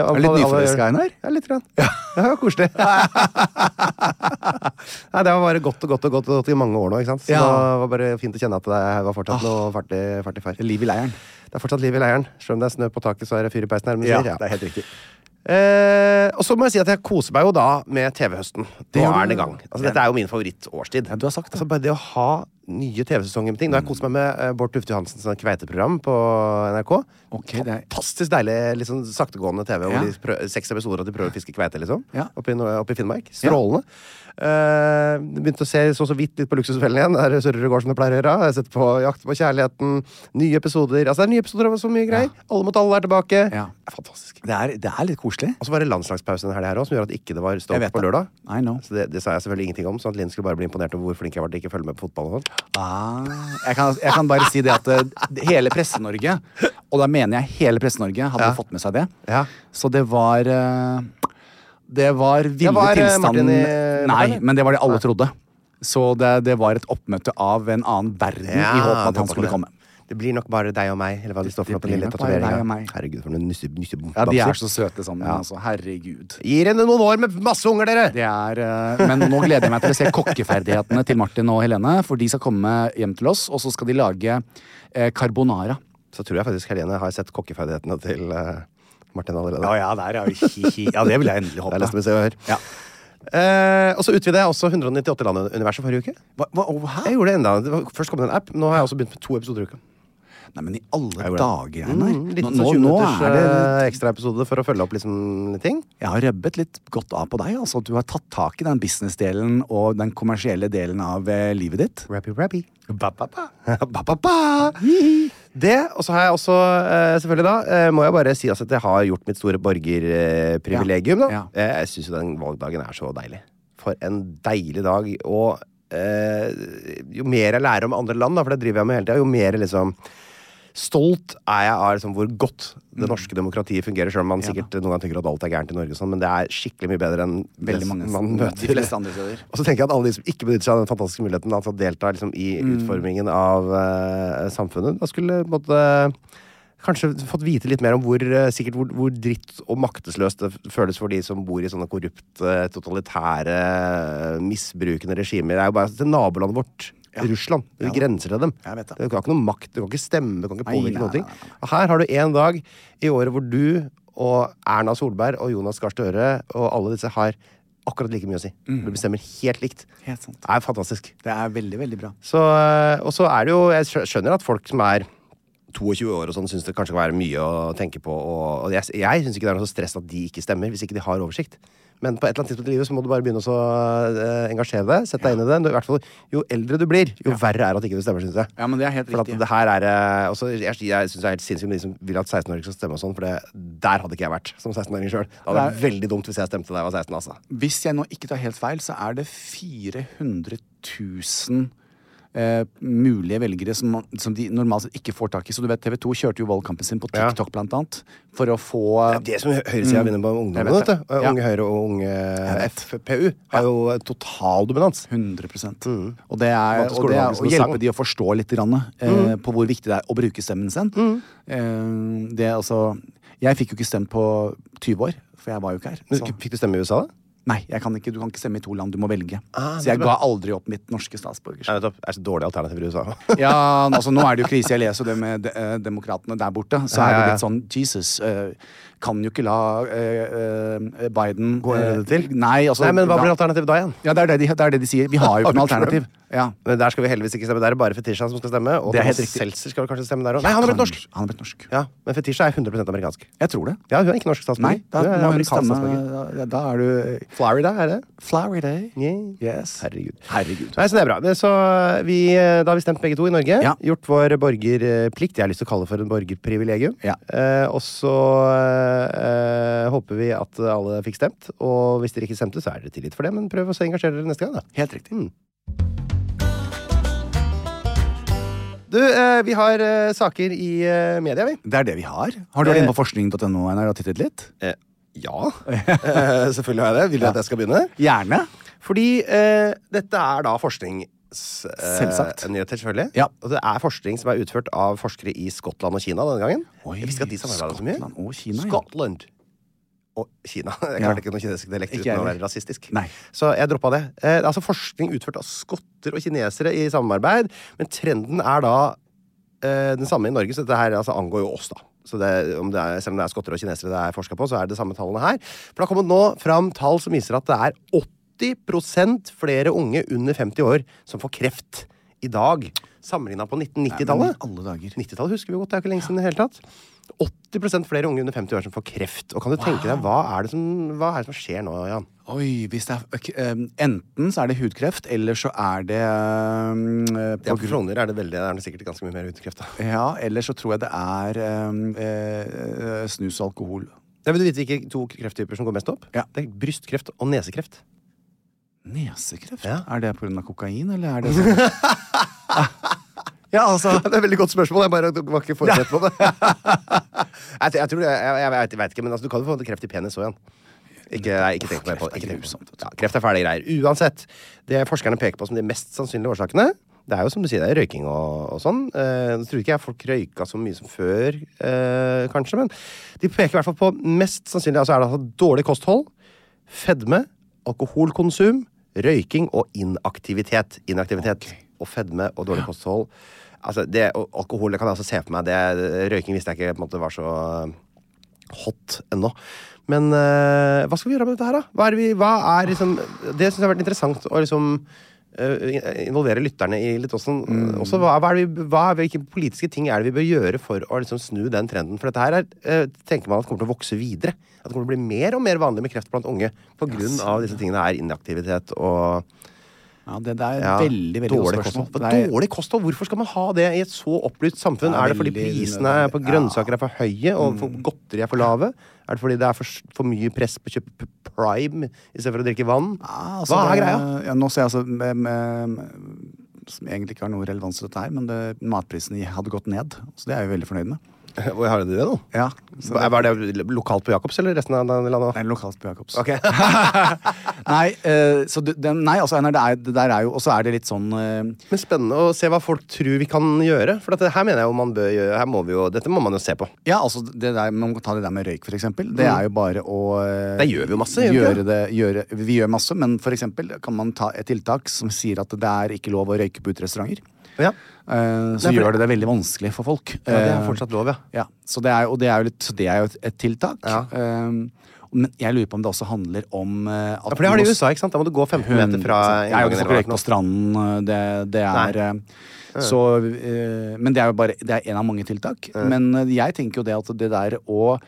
Speaker 2: Er du litt
Speaker 3: alle- alle-
Speaker 2: nyforelska, Einar?
Speaker 3: Ja, litt. Grann. Det var
Speaker 2: (laughs)
Speaker 3: koselig. Nei, det var bare godt og godt og godt, og godt i mange år nå. ikke sant? Så
Speaker 2: Ja.
Speaker 3: det var bare fint å kjenne at det var fortsatt noe fart i, fart i fart.
Speaker 2: Liv i leiren.
Speaker 3: Det er fortsatt liv i leiren. Selv om det er snø på taket, så er det fyr i peisen. her, men
Speaker 2: Ja,
Speaker 3: sier,
Speaker 2: det er helt riktig.
Speaker 3: Eh, og så må jeg si at jeg koser meg jo da med TV-høsten. Nå
Speaker 2: gjør du.
Speaker 3: er den i gang. Altså, dette er jo min favorittårstid.
Speaker 2: Ja, du har sagt det.
Speaker 3: Altså, bare det å ha nye TV-sesonger med ting. Nå har jeg kost meg med eh, Bård Tufte Johansens sånn kveiteprogram på NRK.
Speaker 2: Ok, det er-
Speaker 3: Fantastisk deilig litt sånn saktegående TV hvor
Speaker 2: Ja.
Speaker 3: de prø- seks episoder at de prøver å fiske kveite, liksom.
Speaker 2: Ja.
Speaker 3: Oppe, i, Nor- oppe i Finnmark. Strålende. Eh, begynte å se så så vidt litt på Luksusfellen igjen. Der surrer det går som det pleier å gjøre. Jeg har sett på Jakt på kjærligheten. Nye episoder. Altså, det er nye episoder av så mye greier. Alle mot alle er tilbake.
Speaker 2: Ja.
Speaker 3: Det er fantastisk.
Speaker 2: Det er, det er litt koselig.
Speaker 3: Og så var det landslagspause denne helga som gjorde at ikke det var
Speaker 2: Jeg
Speaker 3: Stoke
Speaker 2: vet
Speaker 3: på
Speaker 2: det.
Speaker 3: lørdag.
Speaker 2: I know.
Speaker 3: Så det, det sa jeg selvfølgelig ingenting om, sånn at Linn skulle bare bli imponert over hvor flink jeg var til ikke å følge med på fotball. og sånt.
Speaker 2: Ah, jeg, kan, jeg kan bare si det at eh, hele Presse-Norge, og da mener jeg hele Presse-Norge, hadde fått med seg det.
Speaker 3: Ja.
Speaker 2: Så det var eh, Det var ville
Speaker 3: Det var, eh,
Speaker 2: tilstanden
Speaker 3: Martin i-
Speaker 2: Nei,
Speaker 3: Martin?
Speaker 2: men det var det alle trodde. Så det, det var et oppmøte av en annen verden i håp om
Speaker 3: det
Speaker 2: at han
Speaker 3: var
Speaker 2: skulle
Speaker 3: det.
Speaker 2: komme.
Speaker 3: Det blir nok bare deg og meg. Eller hva det, står for
Speaker 2: det
Speaker 3: noe på
Speaker 2: blir
Speaker 3: den lille
Speaker 2: nok bare deg og
Speaker 3: tatoveringen.
Speaker 2: meg.
Speaker 3: Herregud, for noen nysse, nysse
Speaker 2: Ja, de er så
Speaker 3: babser.
Speaker 2: søte sammen.
Speaker 3: Ja.
Speaker 2: Altså. Herregud.
Speaker 3: Gir henne noen år med masse unger, dere!
Speaker 2: Det er, eh, men nå gleder jeg meg til å se kokkeferdighetene til Martin og Helene. For de skal komme hjem til oss, og så skal de lage eh, carbonara.
Speaker 3: Så tror jeg faktisk Helene har sett kokkeferdighetene til eh, Martin allerede.
Speaker 2: Ja, ja, der er jo hi-hi. Ja, det vil jeg endelig
Speaker 3: Det
Speaker 2: håpe.
Speaker 3: er nesten Se og Hør.
Speaker 2: Ja.
Speaker 3: Eh, og så utvidet jeg også 198 land-universet forrige uke.
Speaker 2: Hva, hva, oh, hæ?
Speaker 3: Jeg gjorde det enda. Det var, først kom det en app, nå har jeg også begynt med to episoder i uka.
Speaker 2: Nei, men i alle
Speaker 3: Jeg gjorde det.
Speaker 2: dager, Einar.
Speaker 3: Mm, litt
Speaker 2: Nå,
Speaker 3: sånn
Speaker 2: nå,
Speaker 3: 20
Speaker 2: nå
Speaker 3: minutters
Speaker 2: er det
Speaker 3: eh, ekstraepisode for å følge opp liksom litt ting.
Speaker 2: Jeg har rubbet litt godt av på deg. Altså, at du har tatt tak i den businessdelen og den kommersielle delen av eh, livet ditt.
Speaker 3: Rappy, rappy.
Speaker 2: Ba, ba, ba.
Speaker 3: ba, ba, ba. Det, og så har jeg også, eh, selvfølgelig da, eh, må jeg bare si altså, at jeg har gjort mitt store borgerprivilegium. da.
Speaker 2: Ja.
Speaker 3: Eh, Jeg syns jo den valgdagen er så deilig. For en deilig dag. Og eh, jo mer jeg lærer om andre land, da, for det driver jeg med hele tida, jo mer liksom Stolt er jeg av liksom, hvor godt det
Speaker 2: Mm.
Speaker 3: norske demokratiet fungerer, selv om man sikkert noen ganger tenker at alt er gærent i Norge, og sånn, men det er skikkelig mye bedre enn
Speaker 2: Veldig
Speaker 3: det
Speaker 2: mange-
Speaker 3: man møter
Speaker 2: de fleste andre steder.
Speaker 3: og så tenker jeg at alle de som ikke benytter seg av den fantastiske muligheten da, til å delta liksom, i
Speaker 2: Mm.
Speaker 3: utformingen av eh, samfunnet, da skulle på en måte kanskje fått vite litt mer om hvor, eh, sikkert hvor, hvor dritt og maktesløst det f- føles for de som bor i sånne korrupte, totalitære, misbrukende regimer. Det er jo bare til nabolandet vårt. Russland. Det er
Speaker 2: Ja.
Speaker 3: grenser til dem.
Speaker 2: Jeg vet det.
Speaker 3: Du har ikke noe makt, du kan ikke stemme, du kan ikke
Speaker 2: Nei,
Speaker 3: påvirke
Speaker 2: nei,
Speaker 3: noe.
Speaker 2: nei,
Speaker 3: ting. Her har du én dag i året hvor du og Erna Solberg og Jonas Gahr Støre og alle disse har akkurat like mye å si. Du bestemmer helt likt.
Speaker 2: Mhm. Helt sant.
Speaker 3: Det er fantastisk.
Speaker 2: Det er veldig, veldig bra.
Speaker 3: Så, øh, og så er det jo Jeg skjø- skjønner at folk som er 22 år og sånn syns det kanskje kan være mye å tenke på. Og, og jeg, jeg syns ikke det er noe så stress at de ikke stemmer, hvis ikke de har oversikt. Men på et eller annet tidspunkt i livet så må du bare begynne å så, øh, engasjere deg. Sett deg inn i det. Du, i hvert fall, jo eldre du blir, jo verre er det at ikke du stemmer, syns jeg.
Speaker 2: Ja, men det er helt
Speaker 3: For at
Speaker 2: riktig.
Speaker 3: det her er eh, også, Jeg, jeg syns det er helt sinnssykt med de som vil at 16-åringer skal stemme og sånn, for det, der hadde ikke jeg vært som 16-åring sjøl. Det hadde vært veldig dumt hvis jeg stemte da jeg var 16, altså.
Speaker 2: Hvis jeg nå ikke tar helt feil, så er det 400 000 eh, mulige velgere som, som de normalt sett ikke får tak i. Så du vet, TV 2 kjørte jo valgkampen sin på
Speaker 3: Ja.
Speaker 2: TikTok, blant annet, for å få
Speaker 3: Det er det som høyresida vinner på ungdommen.
Speaker 2: Mm. Jeg vet
Speaker 3: Vet
Speaker 2: det.
Speaker 3: du. Eh, Unge
Speaker 2: Ja.
Speaker 3: Høyre og Unge FPU har jo eh, total dominans.
Speaker 2: 100 Mm. Og det er
Speaker 3: Vant til
Speaker 2: og det er
Speaker 3: skolevalget som
Speaker 2: å
Speaker 3: en
Speaker 2: hjelpe
Speaker 3: sang.
Speaker 2: de å forstå litt grann, eh,
Speaker 3: Mm.
Speaker 2: på hvor viktig det er å bruke stemmen sin. Eh, det er altså Jeg fikk jo ikke stemt på 20 år, for jeg var jo ikke her.
Speaker 3: Men
Speaker 2: Så.
Speaker 3: Fikk du stemme i USA, da?
Speaker 2: Nei, jeg kan ikke, du kan ikke stemme i to land. Du må velge.
Speaker 3: Ah,
Speaker 2: så jeg
Speaker 3: det er
Speaker 2: ga
Speaker 3: bra.
Speaker 2: aldri opp mitt norske statsborgerskap.
Speaker 3: Nei, nettopp. Det er så dårlige alternativer (laughs) i USA.
Speaker 2: Ja, n- altså Nå er det jo krise. Jeg leser jo det med de, eh, demokratene der borte. Så
Speaker 3: Ja,
Speaker 2: er
Speaker 3: ja,
Speaker 2: det
Speaker 3: ja.
Speaker 2: litt sånn Jesus, eh, kan jo ikke la eh, eh, Biden
Speaker 3: Gå en runde
Speaker 2: eh,
Speaker 3: til?
Speaker 2: Nei, altså
Speaker 3: Nei, men hva
Speaker 2: da-
Speaker 3: blir alternativet da igjen?
Speaker 2: Ja, det er det, de, det er det de sier. Vi har jo ikke noe alternativ. Ja.
Speaker 3: Men der skal vi heldigvis ikke stemme. Der er det bare Fetisha som skal stemme. Og
Speaker 2: Det er helt
Speaker 3: Thomas
Speaker 2: riktig.
Speaker 3: Seltzer skal vel kanskje stemme der òg. Nei, han har blitt norsk!
Speaker 2: Kanskje- Han har blitt norsk.
Speaker 3: Ja, Men Fetisha er 100 amerikansk.
Speaker 2: Jeg tror det.
Speaker 3: Ja, hun er ikke norsk
Speaker 2: Nei,
Speaker 3: statsborger.
Speaker 2: da
Speaker 3: Hun er
Speaker 2: må hun
Speaker 3: amerikansk
Speaker 2: stemme.
Speaker 3: statsborger.
Speaker 2: Da, da er du
Speaker 3: Florida, er det?
Speaker 2: Flowery Day.
Speaker 3: Yeah.
Speaker 2: Yes.
Speaker 3: Herregud.
Speaker 2: Herregud.
Speaker 3: Nei, så det er bra. Det- Så vi, eh, da har vi stemt begge to i Norge.
Speaker 2: Ja.
Speaker 3: Gjort vår borgerplikt. Jeg har lyst til å kalle det for en borgerprivilegium.
Speaker 2: Ja.
Speaker 3: Eh, og så eh, håper vi at alle fikk stemt. Og hvis dere ikke stemte, så er dere tilgitt for det, men prøv å så engasjere dere neste gang, da.
Speaker 2: Helt riktig.
Speaker 3: Mm. Du, eh, vi har eh, saker i eh, media, vi.
Speaker 2: Det er det vi har. Har du vært inne på forskning.no Einar, og tittet litt?
Speaker 3: (laughs) ja. eh, selvfølgelig har jeg det. Vil du at jeg skal begynne?
Speaker 2: Gjerne.
Speaker 3: Fordi eh, dette er da forskning
Speaker 2: Selvsagt.
Speaker 3: Nyheter, selvfølgelig.
Speaker 2: Ja.
Speaker 3: Og det er forskning som er utført av forskere i Skottland og Kina denne gangen.
Speaker 2: Oi,
Speaker 3: jeg visste ikke at de samarbeidet så mye.
Speaker 2: Skottland og Kina, ja.
Speaker 3: Skottland og Kina. (laughs) Jeg
Speaker 2: Ja.
Speaker 3: klarte ikke noen kinesisk dialekt
Speaker 2: Ikke
Speaker 3: uten å
Speaker 2: heller.
Speaker 3: være rasistisk.
Speaker 2: Nei.
Speaker 3: Så jeg droppa det. Eh, det er altså forskning utført av skotter og kinesere i samarbeid, men trenden er da eh, den samme i Norge, så dette her altså, angår jo oss, da. Så det, om det er, selv om det er skotter og kinesere det er forska på, så er det de samme tallene her. For det har kommet nå fram tall som viser at det er 80 flere unge under 50 år som får kreft i dag, sammenligna på
Speaker 2: Nei, men
Speaker 3: 1990-tallet.
Speaker 2: i alle dager.
Speaker 3: 90-tallet husker vi godt, det er jo ikke lenge siden i det hele tatt. 80 flere unge under 50 år som får kreft. Og kan du tenke deg, hva er det som, hva er det som skjer nå, Jan?
Speaker 2: Oi, hvis det er ok, ehm, Enten så er det hudkreft, eller så er det ehm, eh, på
Speaker 3: Ja, på
Speaker 2: grunn-
Speaker 3: Frogner er det veldig, det er sikkert ganske mye mer hudkreft. da.
Speaker 2: Ja, eller så tror jeg det er ehm, eh, eh, snus og alkohol.
Speaker 3: Jeg vil du vite hvilke to krefttyper som går mest opp?
Speaker 2: Ja.
Speaker 3: Det er Brystkreft og nesekreft.
Speaker 2: Nesekreft?
Speaker 3: Ja.
Speaker 2: Er det pga. kokain, eller er det sånn Ja, altså
Speaker 3: (laughs) Det er et veldig godt spørsmål. Jeg bare var ikke
Speaker 2: (laughs)
Speaker 3: forberedt på det. (laughs) jeg, tror- jeg, tror, jeg, jeg, vet- jeg vet ikke, men altså, du kan jo få kreft i penis òg igjen. Ikke, nei, ikke tenk på det.
Speaker 2: Kreft er
Speaker 3: Ikke tenk på det.
Speaker 2: grusomt, vet du.
Speaker 3: Ja, kreft er fæle greier. Uansett. Det forskerne peker på som de mest sannsynlige årsakene, det er jo som du sier, det er røyking og, og sånn. Eh, Nå tror ikke jeg folk røyka så mye som før, eh, kanskje, men de peker i hvert fall på mest sannsynlig altså er det altså dårlig kosthold, fedme, alkoholkonsum, røyking og inaktivitet. Inaktivitet og fedme og dårlig kosthold. Altså, det, og alkohol det kan jeg også se for meg. Det, røyking visste jeg ikke på en måte var så hot ennå. Men eh, hva skal vi gjøre med dette her, da? Hva er det vi, hva er liksom, det syns jeg har vært interessant å liksom eh, involvere lytterne i litt også. også hva, hva er det vi, hva er, hvilke politiske ting er det vi bør gjøre for å liksom snu den trenden? For dette her er, eh, tenker man at kommer til å vokse videre. At det kommer til å bli mer og mer vanlig med kreft blant unge på grunn av disse tingene her. Inaktivitet og
Speaker 2: ja, Det det er et
Speaker 3: ja,
Speaker 2: veldig veldig godt
Speaker 3: dårlig
Speaker 2: spørsmål.
Speaker 3: kosthold.
Speaker 2: Det er-
Speaker 3: Dårlig kosthold, hvorfor skal man ha det i et så opplyst samfunn?
Speaker 2: Det er
Speaker 3: er, det fordi
Speaker 2: veldig
Speaker 3: prisene
Speaker 2: unødvendig.
Speaker 3: på grønnsaker er for høye, og for godteri er for lave? Er det fordi det er for, s- for mye press på å kjøpe p- Prime istedenfor å drikke vann?
Speaker 2: Ja, altså,
Speaker 3: Hva er
Speaker 2: det-
Speaker 3: greia?
Speaker 2: Ja, nå ser jeg altså med, med, Som egentlig ikke har noe relevans til dette her, men det, matprisene hadde gått ned. Så det er jeg jo veldig fornøyd med.
Speaker 3: (laughs) Hvor har du det, da?
Speaker 2: Ja, så det,
Speaker 3: Er det lokalt på Jacobs, eller resten av landet?
Speaker 2: det er lokalt på Jacobs.
Speaker 3: Ok.
Speaker 2: (laughs) Nei, eh, så det, den- nei, altså, Einar, det er, det der er jo Og så er det litt sånn eh,
Speaker 3: Men spennende å se hva folk tror vi kan gjøre. For dette her mener jeg jo man bør gjøre. Her må vi jo, dette må man jo se på.
Speaker 2: Ja, altså det der, Man kan ta det der med røyk, for eksempel. Det er jo bare å eh,
Speaker 3: Mm. Det gjør vi jo masse, gjør vi
Speaker 2: gjøre
Speaker 3: ikke
Speaker 2: det, gjøre, Vi gjør masse, men for eksempel kan man ta et tiltak som sier at det er ikke lov å røyke på uterestauranter.
Speaker 3: Ja.
Speaker 2: Eh, så
Speaker 3: Nei, for-
Speaker 2: gjør det det veldig vanskelig for folk.
Speaker 3: Ja, det er
Speaker 2: Eh,
Speaker 3: fortsatt lov, ja.
Speaker 2: ja. Så det er, jo- og det er jo, litt, så det er jo et, et tiltak.
Speaker 3: Ja.
Speaker 2: Eh, men jeg lurer på om det også handler om eh, at
Speaker 3: Ja, for det har
Speaker 2: du
Speaker 3: de i
Speaker 2: må-
Speaker 3: USA, ikke sant? Da må du gå 15 meter fra
Speaker 2: Jeg er jo
Speaker 3: inngangen
Speaker 2: ikke
Speaker 3: eller hva
Speaker 2: røyk
Speaker 3: det Hmm. er for
Speaker 2: på
Speaker 3: noe.
Speaker 2: stranden. Det, det er
Speaker 3: Nei. Mm.
Speaker 2: eh, Så eh, Men det er jo bare Det er en av mange tiltak.
Speaker 3: Mm.
Speaker 2: Men eh, jeg tenker jo det at det der å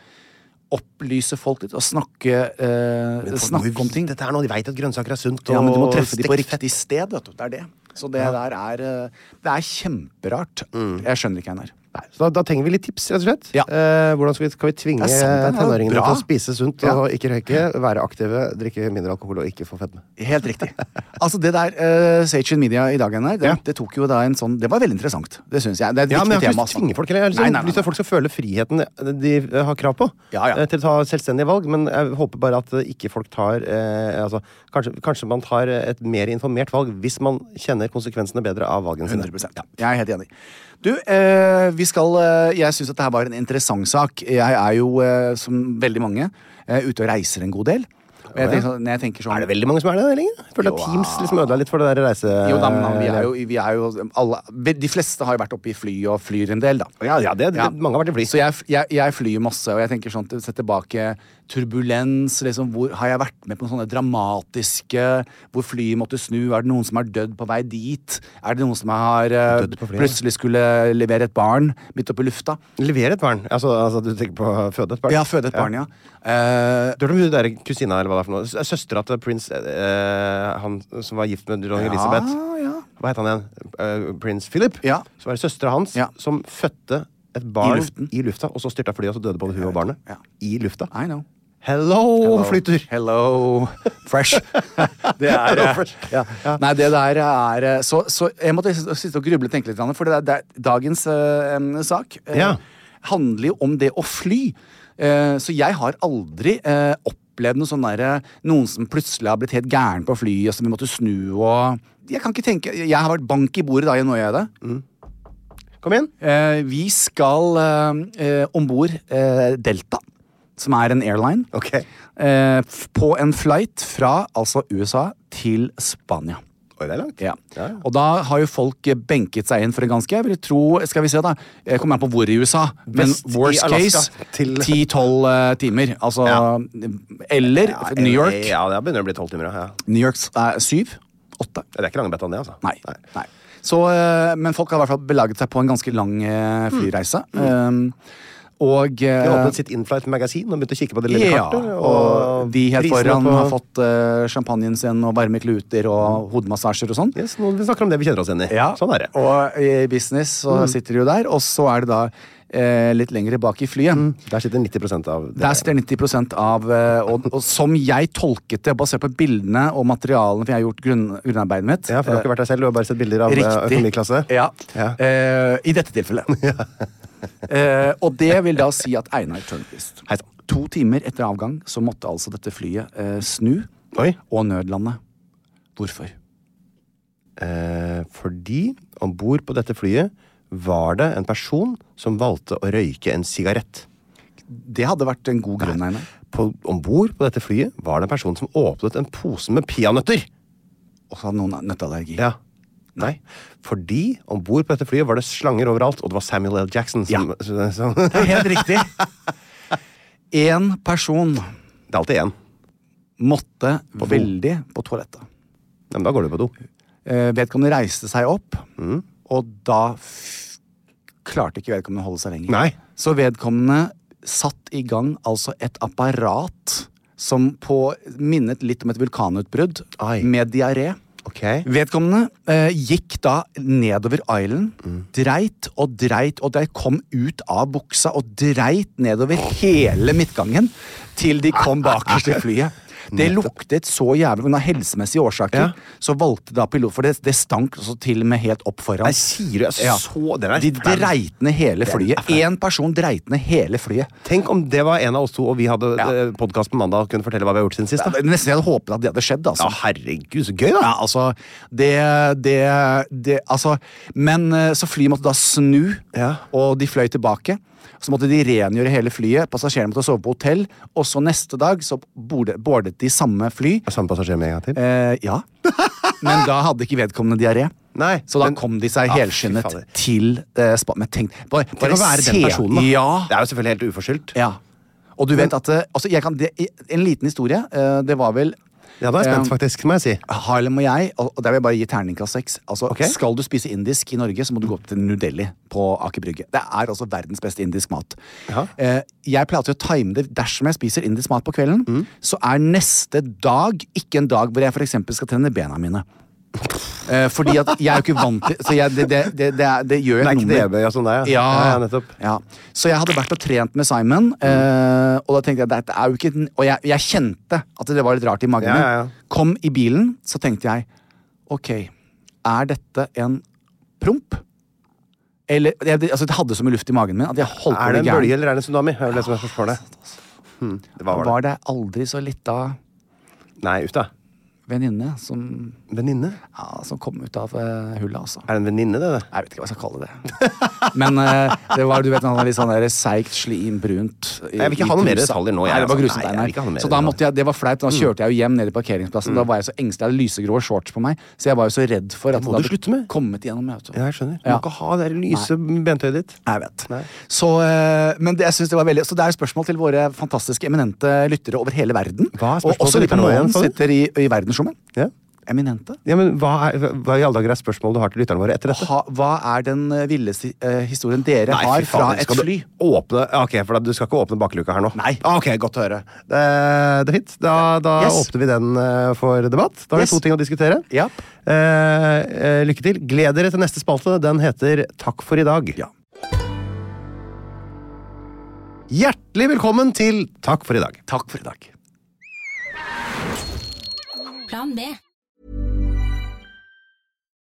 Speaker 2: opplyse folk litt og snakke eh,
Speaker 3: Men folk må jo
Speaker 2: Snakke om
Speaker 3: vite
Speaker 2: ting
Speaker 3: Dette her nå, de vet at grønnsaker er sunt.
Speaker 2: ja, men du må
Speaker 3: og
Speaker 2: treffe de på
Speaker 3: stekt fett.
Speaker 2: riktig sted, vet du. Det er det. Så det der er eh, Det er kjemperart. Jeg skjønner ikke, Einar.
Speaker 3: Mm. Nei, så da, da trenger vi litt tips, rett og slett.
Speaker 2: Ja.
Speaker 3: Eh, hvordan skal vi, skal vi tvinge
Speaker 2: Det er sant, det er
Speaker 3: tenåringene
Speaker 2: bra.
Speaker 3: til å spise sunt
Speaker 2: Ja.
Speaker 3: og ikke røyke, være aktive, drikke mindre alkohol og ikke få fedme?
Speaker 2: Helt riktig. (laughs) altså Det der uh, Sage in Media i dag, Einar, det,
Speaker 3: Ja.
Speaker 2: det tok jo da en sånn Det var veldig interessant. Det syns jeg. Det er et
Speaker 3: Ja, men
Speaker 2: viktig
Speaker 3: jeg har
Speaker 2: tema.
Speaker 3: ikke lyst
Speaker 2: altså.
Speaker 3: til å tvinge folk. Eller jeg har liksom
Speaker 2: Nei, nei, nei,
Speaker 3: lyst til at folk skal føle friheten de eh, har krav på.
Speaker 2: Ja, ja.
Speaker 3: eh, Til å ta selvstendige valg. Men jeg håper bare at eh, ikke folk tar eh, altså, kanskje, kanskje man tar eh, et mer informert valg hvis man kjenner konsekvensene bedre av valgene sine.
Speaker 2: 100 ja. Jeg er helt enig. Du, eh, vi skal eh, Jeg syns dette her var en interessant sak. Jeg er jo, eh, som veldig mange, eh, ute og reiser en god del. Og jeg tenker, sånn- når jeg tenker sånn
Speaker 3: Er det veldig mange som er det lenger? Jeg føler at
Speaker 2: Jo, ah.
Speaker 3: Teams liksom ødela litt for det der reise...
Speaker 2: Jo da, men vi
Speaker 3: Eh,
Speaker 2: er jo, vi er jo alle, De fleste har jo vært oppe i fly og flyr en del, da.
Speaker 3: Ja, ja, det, det,
Speaker 2: Ja.
Speaker 3: mange har vært i fly.
Speaker 2: Så jeg, jeg, jeg flyr jo masse, og jeg tenker sånn til- sett tilbake Turbulens, liksom. Hvor har jeg vært med på sånne dramatiske Hvor flyet måtte snu? Er det noen som er dødd på vei dit? Er det noen som har eh,
Speaker 3: Dødd på flyet.
Speaker 2: plutselig skulle levere et barn midt oppe i lufta?
Speaker 3: Levere et barn? Altså, altså du tenker på å føde et barn?
Speaker 2: Ja, føde et barn, ja. Eh,
Speaker 3: Du hørte om hun der kusina eller hva det er for noe? S- Søstera til prins eh, Han som var gift med dronning Elisabeth.
Speaker 2: ja.
Speaker 3: Hva het han igjen? Eh, prins Philip?
Speaker 2: Ja.
Speaker 3: Så var det søstera hans
Speaker 2: Ja.
Speaker 3: som fødte et barn
Speaker 2: I luften.
Speaker 3: i lufta, og så styrta flyet, og så døde både hun og barnet.
Speaker 2: Ja.
Speaker 3: I lufta.
Speaker 2: I know.
Speaker 3: Hello, flytur!
Speaker 2: Hello, fresh. (laughs) det er
Speaker 3: Hello, fresh.
Speaker 2: Ja. Nei, det der er eh, Så, så jeg måtte s- sitte og gruble og tenke litt, grann, for det der, det, dagens eh, em, sak eh,
Speaker 3: Ja.
Speaker 2: handler jo om det å fly. Eh, så jeg har aldri eh, opplevd noe sånn derre Noen som plutselig har blitt helt gæren på flyet, som vi måtte snu og Jeg kan ikke tenke Jeg har vært bank i bordet da, nå gjør jeg det.
Speaker 3: Kom igjen.
Speaker 2: Eh, vi skal eh, om bord eh, Delta, som er en airline,
Speaker 3: Ok.
Speaker 2: eh, f- på en flight fra altså USA til Spania.
Speaker 3: Oi, det er langt.
Speaker 2: Ja.
Speaker 3: Ja, ja.
Speaker 2: Og da har jo folk eh, benket seg inn for det ganske. Jeg vil tro, skal vi se da, jeg kommer an på hvor i USA, men
Speaker 3: Vest i
Speaker 2: worst case
Speaker 3: Alaska til-
Speaker 2: 10-12 eh, timer. Altså,
Speaker 3: Ja.
Speaker 2: Eller
Speaker 3: Ja,
Speaker 2: New York.
Speaker 3: Ja, det begynner å bli tolv timer. ja, Ja.
Speaker 2: New York er syv. Åtte.
Speaker 3: Det er ikke langbetta, det, altså.
Speaker 2: Nei. Nei. Så, eh, men folk har i hvert fall belaget seg på en ganske lang eh, flyreise. Um, og eh,
Speaker 3: Mm. De åpnet sitt Inflight magasin og begynte å kikke på det lille
Speaker 2: ja,
Speaker 3: kartet.
Speaker 2: og de helt
Speaker 3: prisene
Speaker 2: foran
Speaker 3: på- Mm.
Speaker 2: har fått eh, champagnen sin og varme kluter og hodemassasjer og sånn.
Speaker 3: Yes, Sånn nå, vi snakker om det vi kjenner oss igjen i. Sånn er det.
Speaker 2: Og i business så sitter de jo der, og så er det da eh, litt lenger bak i flyet.
Speaker 3: Der sitter 90 av det.
Speaker 2: Der sitter 90 av eh, og, og som jeg tolket det, basert på bildene og materialene for jeg har gjort grunn, grunnarbeidet mitt
Speaker 3: Ja, for du har ikke vært der selv, du har bare sett bilder av eh, økonomiklasse.
Speaker 2: Ja.
Speaker 3: Ja.
Speaker 2: Eh, I dette
Speaker 3: (laughs)
Speaker 2: tilfellet. eh, og det vil da si at Einar Tørnquist
Speaker 3: Hei sann.
Speaker 2: To timer etter avgang så måtte altså dette flyet eh, snu
Speaker 3: Oi.
Speaker 2: og nødlande. Hvorfor?
Speaker 3: Eh, fordi om bord på dette flyet var det en person som valgte å røyke en sigarett.
Speaker 2: Det hadde vært en god grunn, Einar.
Speaker 3: Om bord på dette flyet var det en person som åpnet en pose med peanøtter.
Speaker 2: Og så hadde noen nøtteallergi.
Speaker 3: Ja. Nei. Fordi om bord på dette flyet var det slanger overalt, og det var Samuel L. Jackson som, (laughs) som Det
Speaker 2: Helt riktig.
Speaker 3: (laughs)
Speaker 2: Én person
Speaker 3: er alltid én.
Speaker 2: måtte
Speaker 3: do.
Speaker 2: veldig på toalettet.
Speaker 3: Ja, Men da går du på do.
Speaker 2: Eh, vedkommende reiste seg opp,
Speaker 3: Mm.
Speaker 2: og da f klarte ikke vedkommende å holde seg lenger.
Speaker 3: Nei.
Speaker 2: Så vedkommende satt i gang altså et apparat som på minnet litt om et vulkanutbrudd
Speaker 3: Ai.
Speaker 2: med diaré.
Speaker 3: Ok.
Speaker 2: Vedkommende eh, gikk da nedover island,
Speaker 3: Mm.
Speaker 2: dreit og dreit og dreit, kom ut av buksa og dreit nedover hele midtgangen til de kom bakerst i flyet. Det luktet så jævlig, men av helsemessige årsaker
Speaker 3: Ja.
Speaker 2: så valgte da pilot For det, det stank også til og med helt opp foran.
Speaker 3: Nei, sier du? Jeg så- den er
Speaker 2: De
Speaker 3: flau.
Speaker 2: dreit ned hele
Speaker 3: Den er
Speaker 2: flyet.
Speaker 3: flau.
Speaker 2: Én person dreit ned hele flyet.
Speaker 3: Tenk om det var en av oss to, og vi hadde
Speaker 2: Ja.
Speaker 3: eh, podkast på mandag og kunne fortelle hva vi har gjort siden sist.
Speaker 2: Ja,
Speaker 3: Da.
Speaker 2: det- Nesten jeg hadde håpet at det hadde skjedd. altså
Speaker 3: Ja, herregud, så gøy, da!
Speaker 2: Ja, altså Det, det, det Altså Men eh, så flyet måtte da snu,
Speaker 3: Ja.
Speaker 2: og de fløy tilbake. Så måtte de rengjøre hele flyet, passasjerene måtte sove på hotell, og så neste dag så borde- boardet de samme fly.
Speaker 3: Samme passasjer med en gang til?
Speaker 2: Eh,
Speaker 3: (laughs)
Speaker 2: ja. Men da hadde ikke vedkommende diaré.
Speaker 3: Nei,
Speaker 2: Så da
Speaker 3: men-
Speaker 2: kom de seg
Speaker 3: Ja, fy
Speaker 2: helskinnet
Speaker 3: fader.
Speaker 2: til eh, spa. Men tenk, bare,
Speaker 3: Tenk
Speaker 2: bare
Speaker 3: å være
Speaker 2: se
Speaker 3: den personen, da. Det
Speaker 2: Ja.
Speaker 3: er jo selvfølgelig helt uforskyldt.
Speaker 2: ja. Og du vet at eh, altså, jeg kan, det, En liten historie. eh, det var vel
Speaker 3: Ja, da er jeg
Speaker 2: eh,
Speaker 3: spent, faktisk, må jeg si.
Speaker 2: Harlem og jeg, og og der vil jeg bare gi terningkast seks. Altså,
Speaker 3: Ok.
Speaker 2: Skal du spise indisk i Norge, så må du gå til New Delhi på Aker Brygge. Det er altså verdens beste indisk mat.
Speaker 3: Ja.
Speaker 2: Eh, jeg pleier alltid å time det. Dersom jeg spiser indisk mat på kvelden,
Speaker 3: Mm.
Speaker 2: så er neste dag ikke en dag hvor jeg f.eks. skal trene bena mine. Eh, fordi at jeg er jo ikke vant til Så jeg, det, det, det, det, er- det gjør jeg
Speaker 3: Det er knebøy og sånn der, ja.
Speaker 2: ja.
Speaker 3: Ja, ja, nettopp.
Speaker 2: Ja. Så jeg hadde vært og trent med Simon, eh, og da tenkte jeg dette er jo ikke den- Og jeg, jeg kjente at det var litt rart i magen
Speaker 3: Ja,
Speaker 2: min.
Speaker 3: ja, ja.
Speaker 2: Kom i bilen, så tenkte jeg ok, er dette en promp? Eller jeg, det- altså, Det hadde så mye luft i magen min at jeg holdt på å
Speaker 3: Er det
Speaker 2: bli
Speaker 3: en bølge
Speaker 2: gæren.
Speaker 3: eller er det en tsunami? Er det det som er spørsmålet? Hmm, det var var det.
Speaker 2: Var det aldri så lita
Speaker 3: Nei, uff da.
Speaker 2: venninne som,
Speaker 3: Venninne?
Speaker 2: ja, som kom ut av eh, hullet, altså?
Speaker 3: Er det en venninne, det? det?
Speaker 2: Jeg vet ikke hva jeg skal kalle det. (laughs) Men eh, det var du vet, han var litt sånn der seigt, slim, brunt. i-
Speaker 3: Jeg vil
Speaker 2: i
Speaker 3: ikke ha noe mer
Speaker 2: trusa.
Speaker 3: detaljer nå, jeg,
Speaker 2: Nei, det var
Speaker 3: altså.
Speaker 2: grusomt,
Speaker 3: Nei, jeg
Speaker 2: Einar.
Speaker 3: vil ikke ha noe mer Mm.
Speaker 2: Så da
Speaker 3: detaljer.
Speaker 2: måtte jeg, det var flaut. Da kjørte jeg jo hjem ned i parkeringsplassen. Da var jeg så engstelig. Jeg hadde lysegrå shorts på meg, så jeg var jo så redd for at
Speaker 3: må
Speaker 2: det
Speaker 3: du slutte med.
Speaker 2: kommet igjennom. Jeg, vet du.
Speaker 3: Ja, jeg skjønner. Du
Speaker 2: Ja.
Speaker 3: må ikke ha det der lyse bentøyet ditt.
Speaker 2: Jeg vet.
Speaker 3: Nei.
Speaker 2: Så, eh, men det, jeg synes det var veldig Så det er spørsmål til våre fantastiske eminente lyttere over hele verden.
Speaker 3: Hva er spørsmålet
Speaker 2: og også
Speaker 3: til
Speaker 2: de på
Speaker 3: lytterne
Speaker 2: morgenen
Speaker 3: våre igjen, sa du?
Speaker 2: sitter i, i verdensrommet.
Speaker 3: Ja.
Speaker 2: Eminente.
Speaker 3: Ja, men hva, er, hva i alle dager er spørsmålet du har til lytterne våre etter dette?
Speaker 2: Ha, hva er den eh, villeste eh, historien dere
Speaker 3: Nei,
Speaker 2: har
Speaker 3: fy faen,
Speaker 2: fra et
Speaker 3: skal du
Speaker 2: fly?
Speaker 3: Åpne, ja, ok, for da, Du skal ikke åpne bakluka her nå?
Speaker 2: Nei.
Speaker 3: Ah, Ok, Godt å høre. Eh, det er fint. Da, da
Speaker 2: Yes.
Speaker 3: åpner vi den eh, for debatt. Da har
Speaker 2: Yes.
Speaker 3: vi to ting å diskutere.
Speaker 2: Ja.
Speaker 3: Eh, eh, lykke til. Gled dere til neste spalte. Den heter Takk for i dag. Hjertelig velkommen til Takk for i dag.
Speaker 2: Takk for i dag.
Speaker 4: Plan B.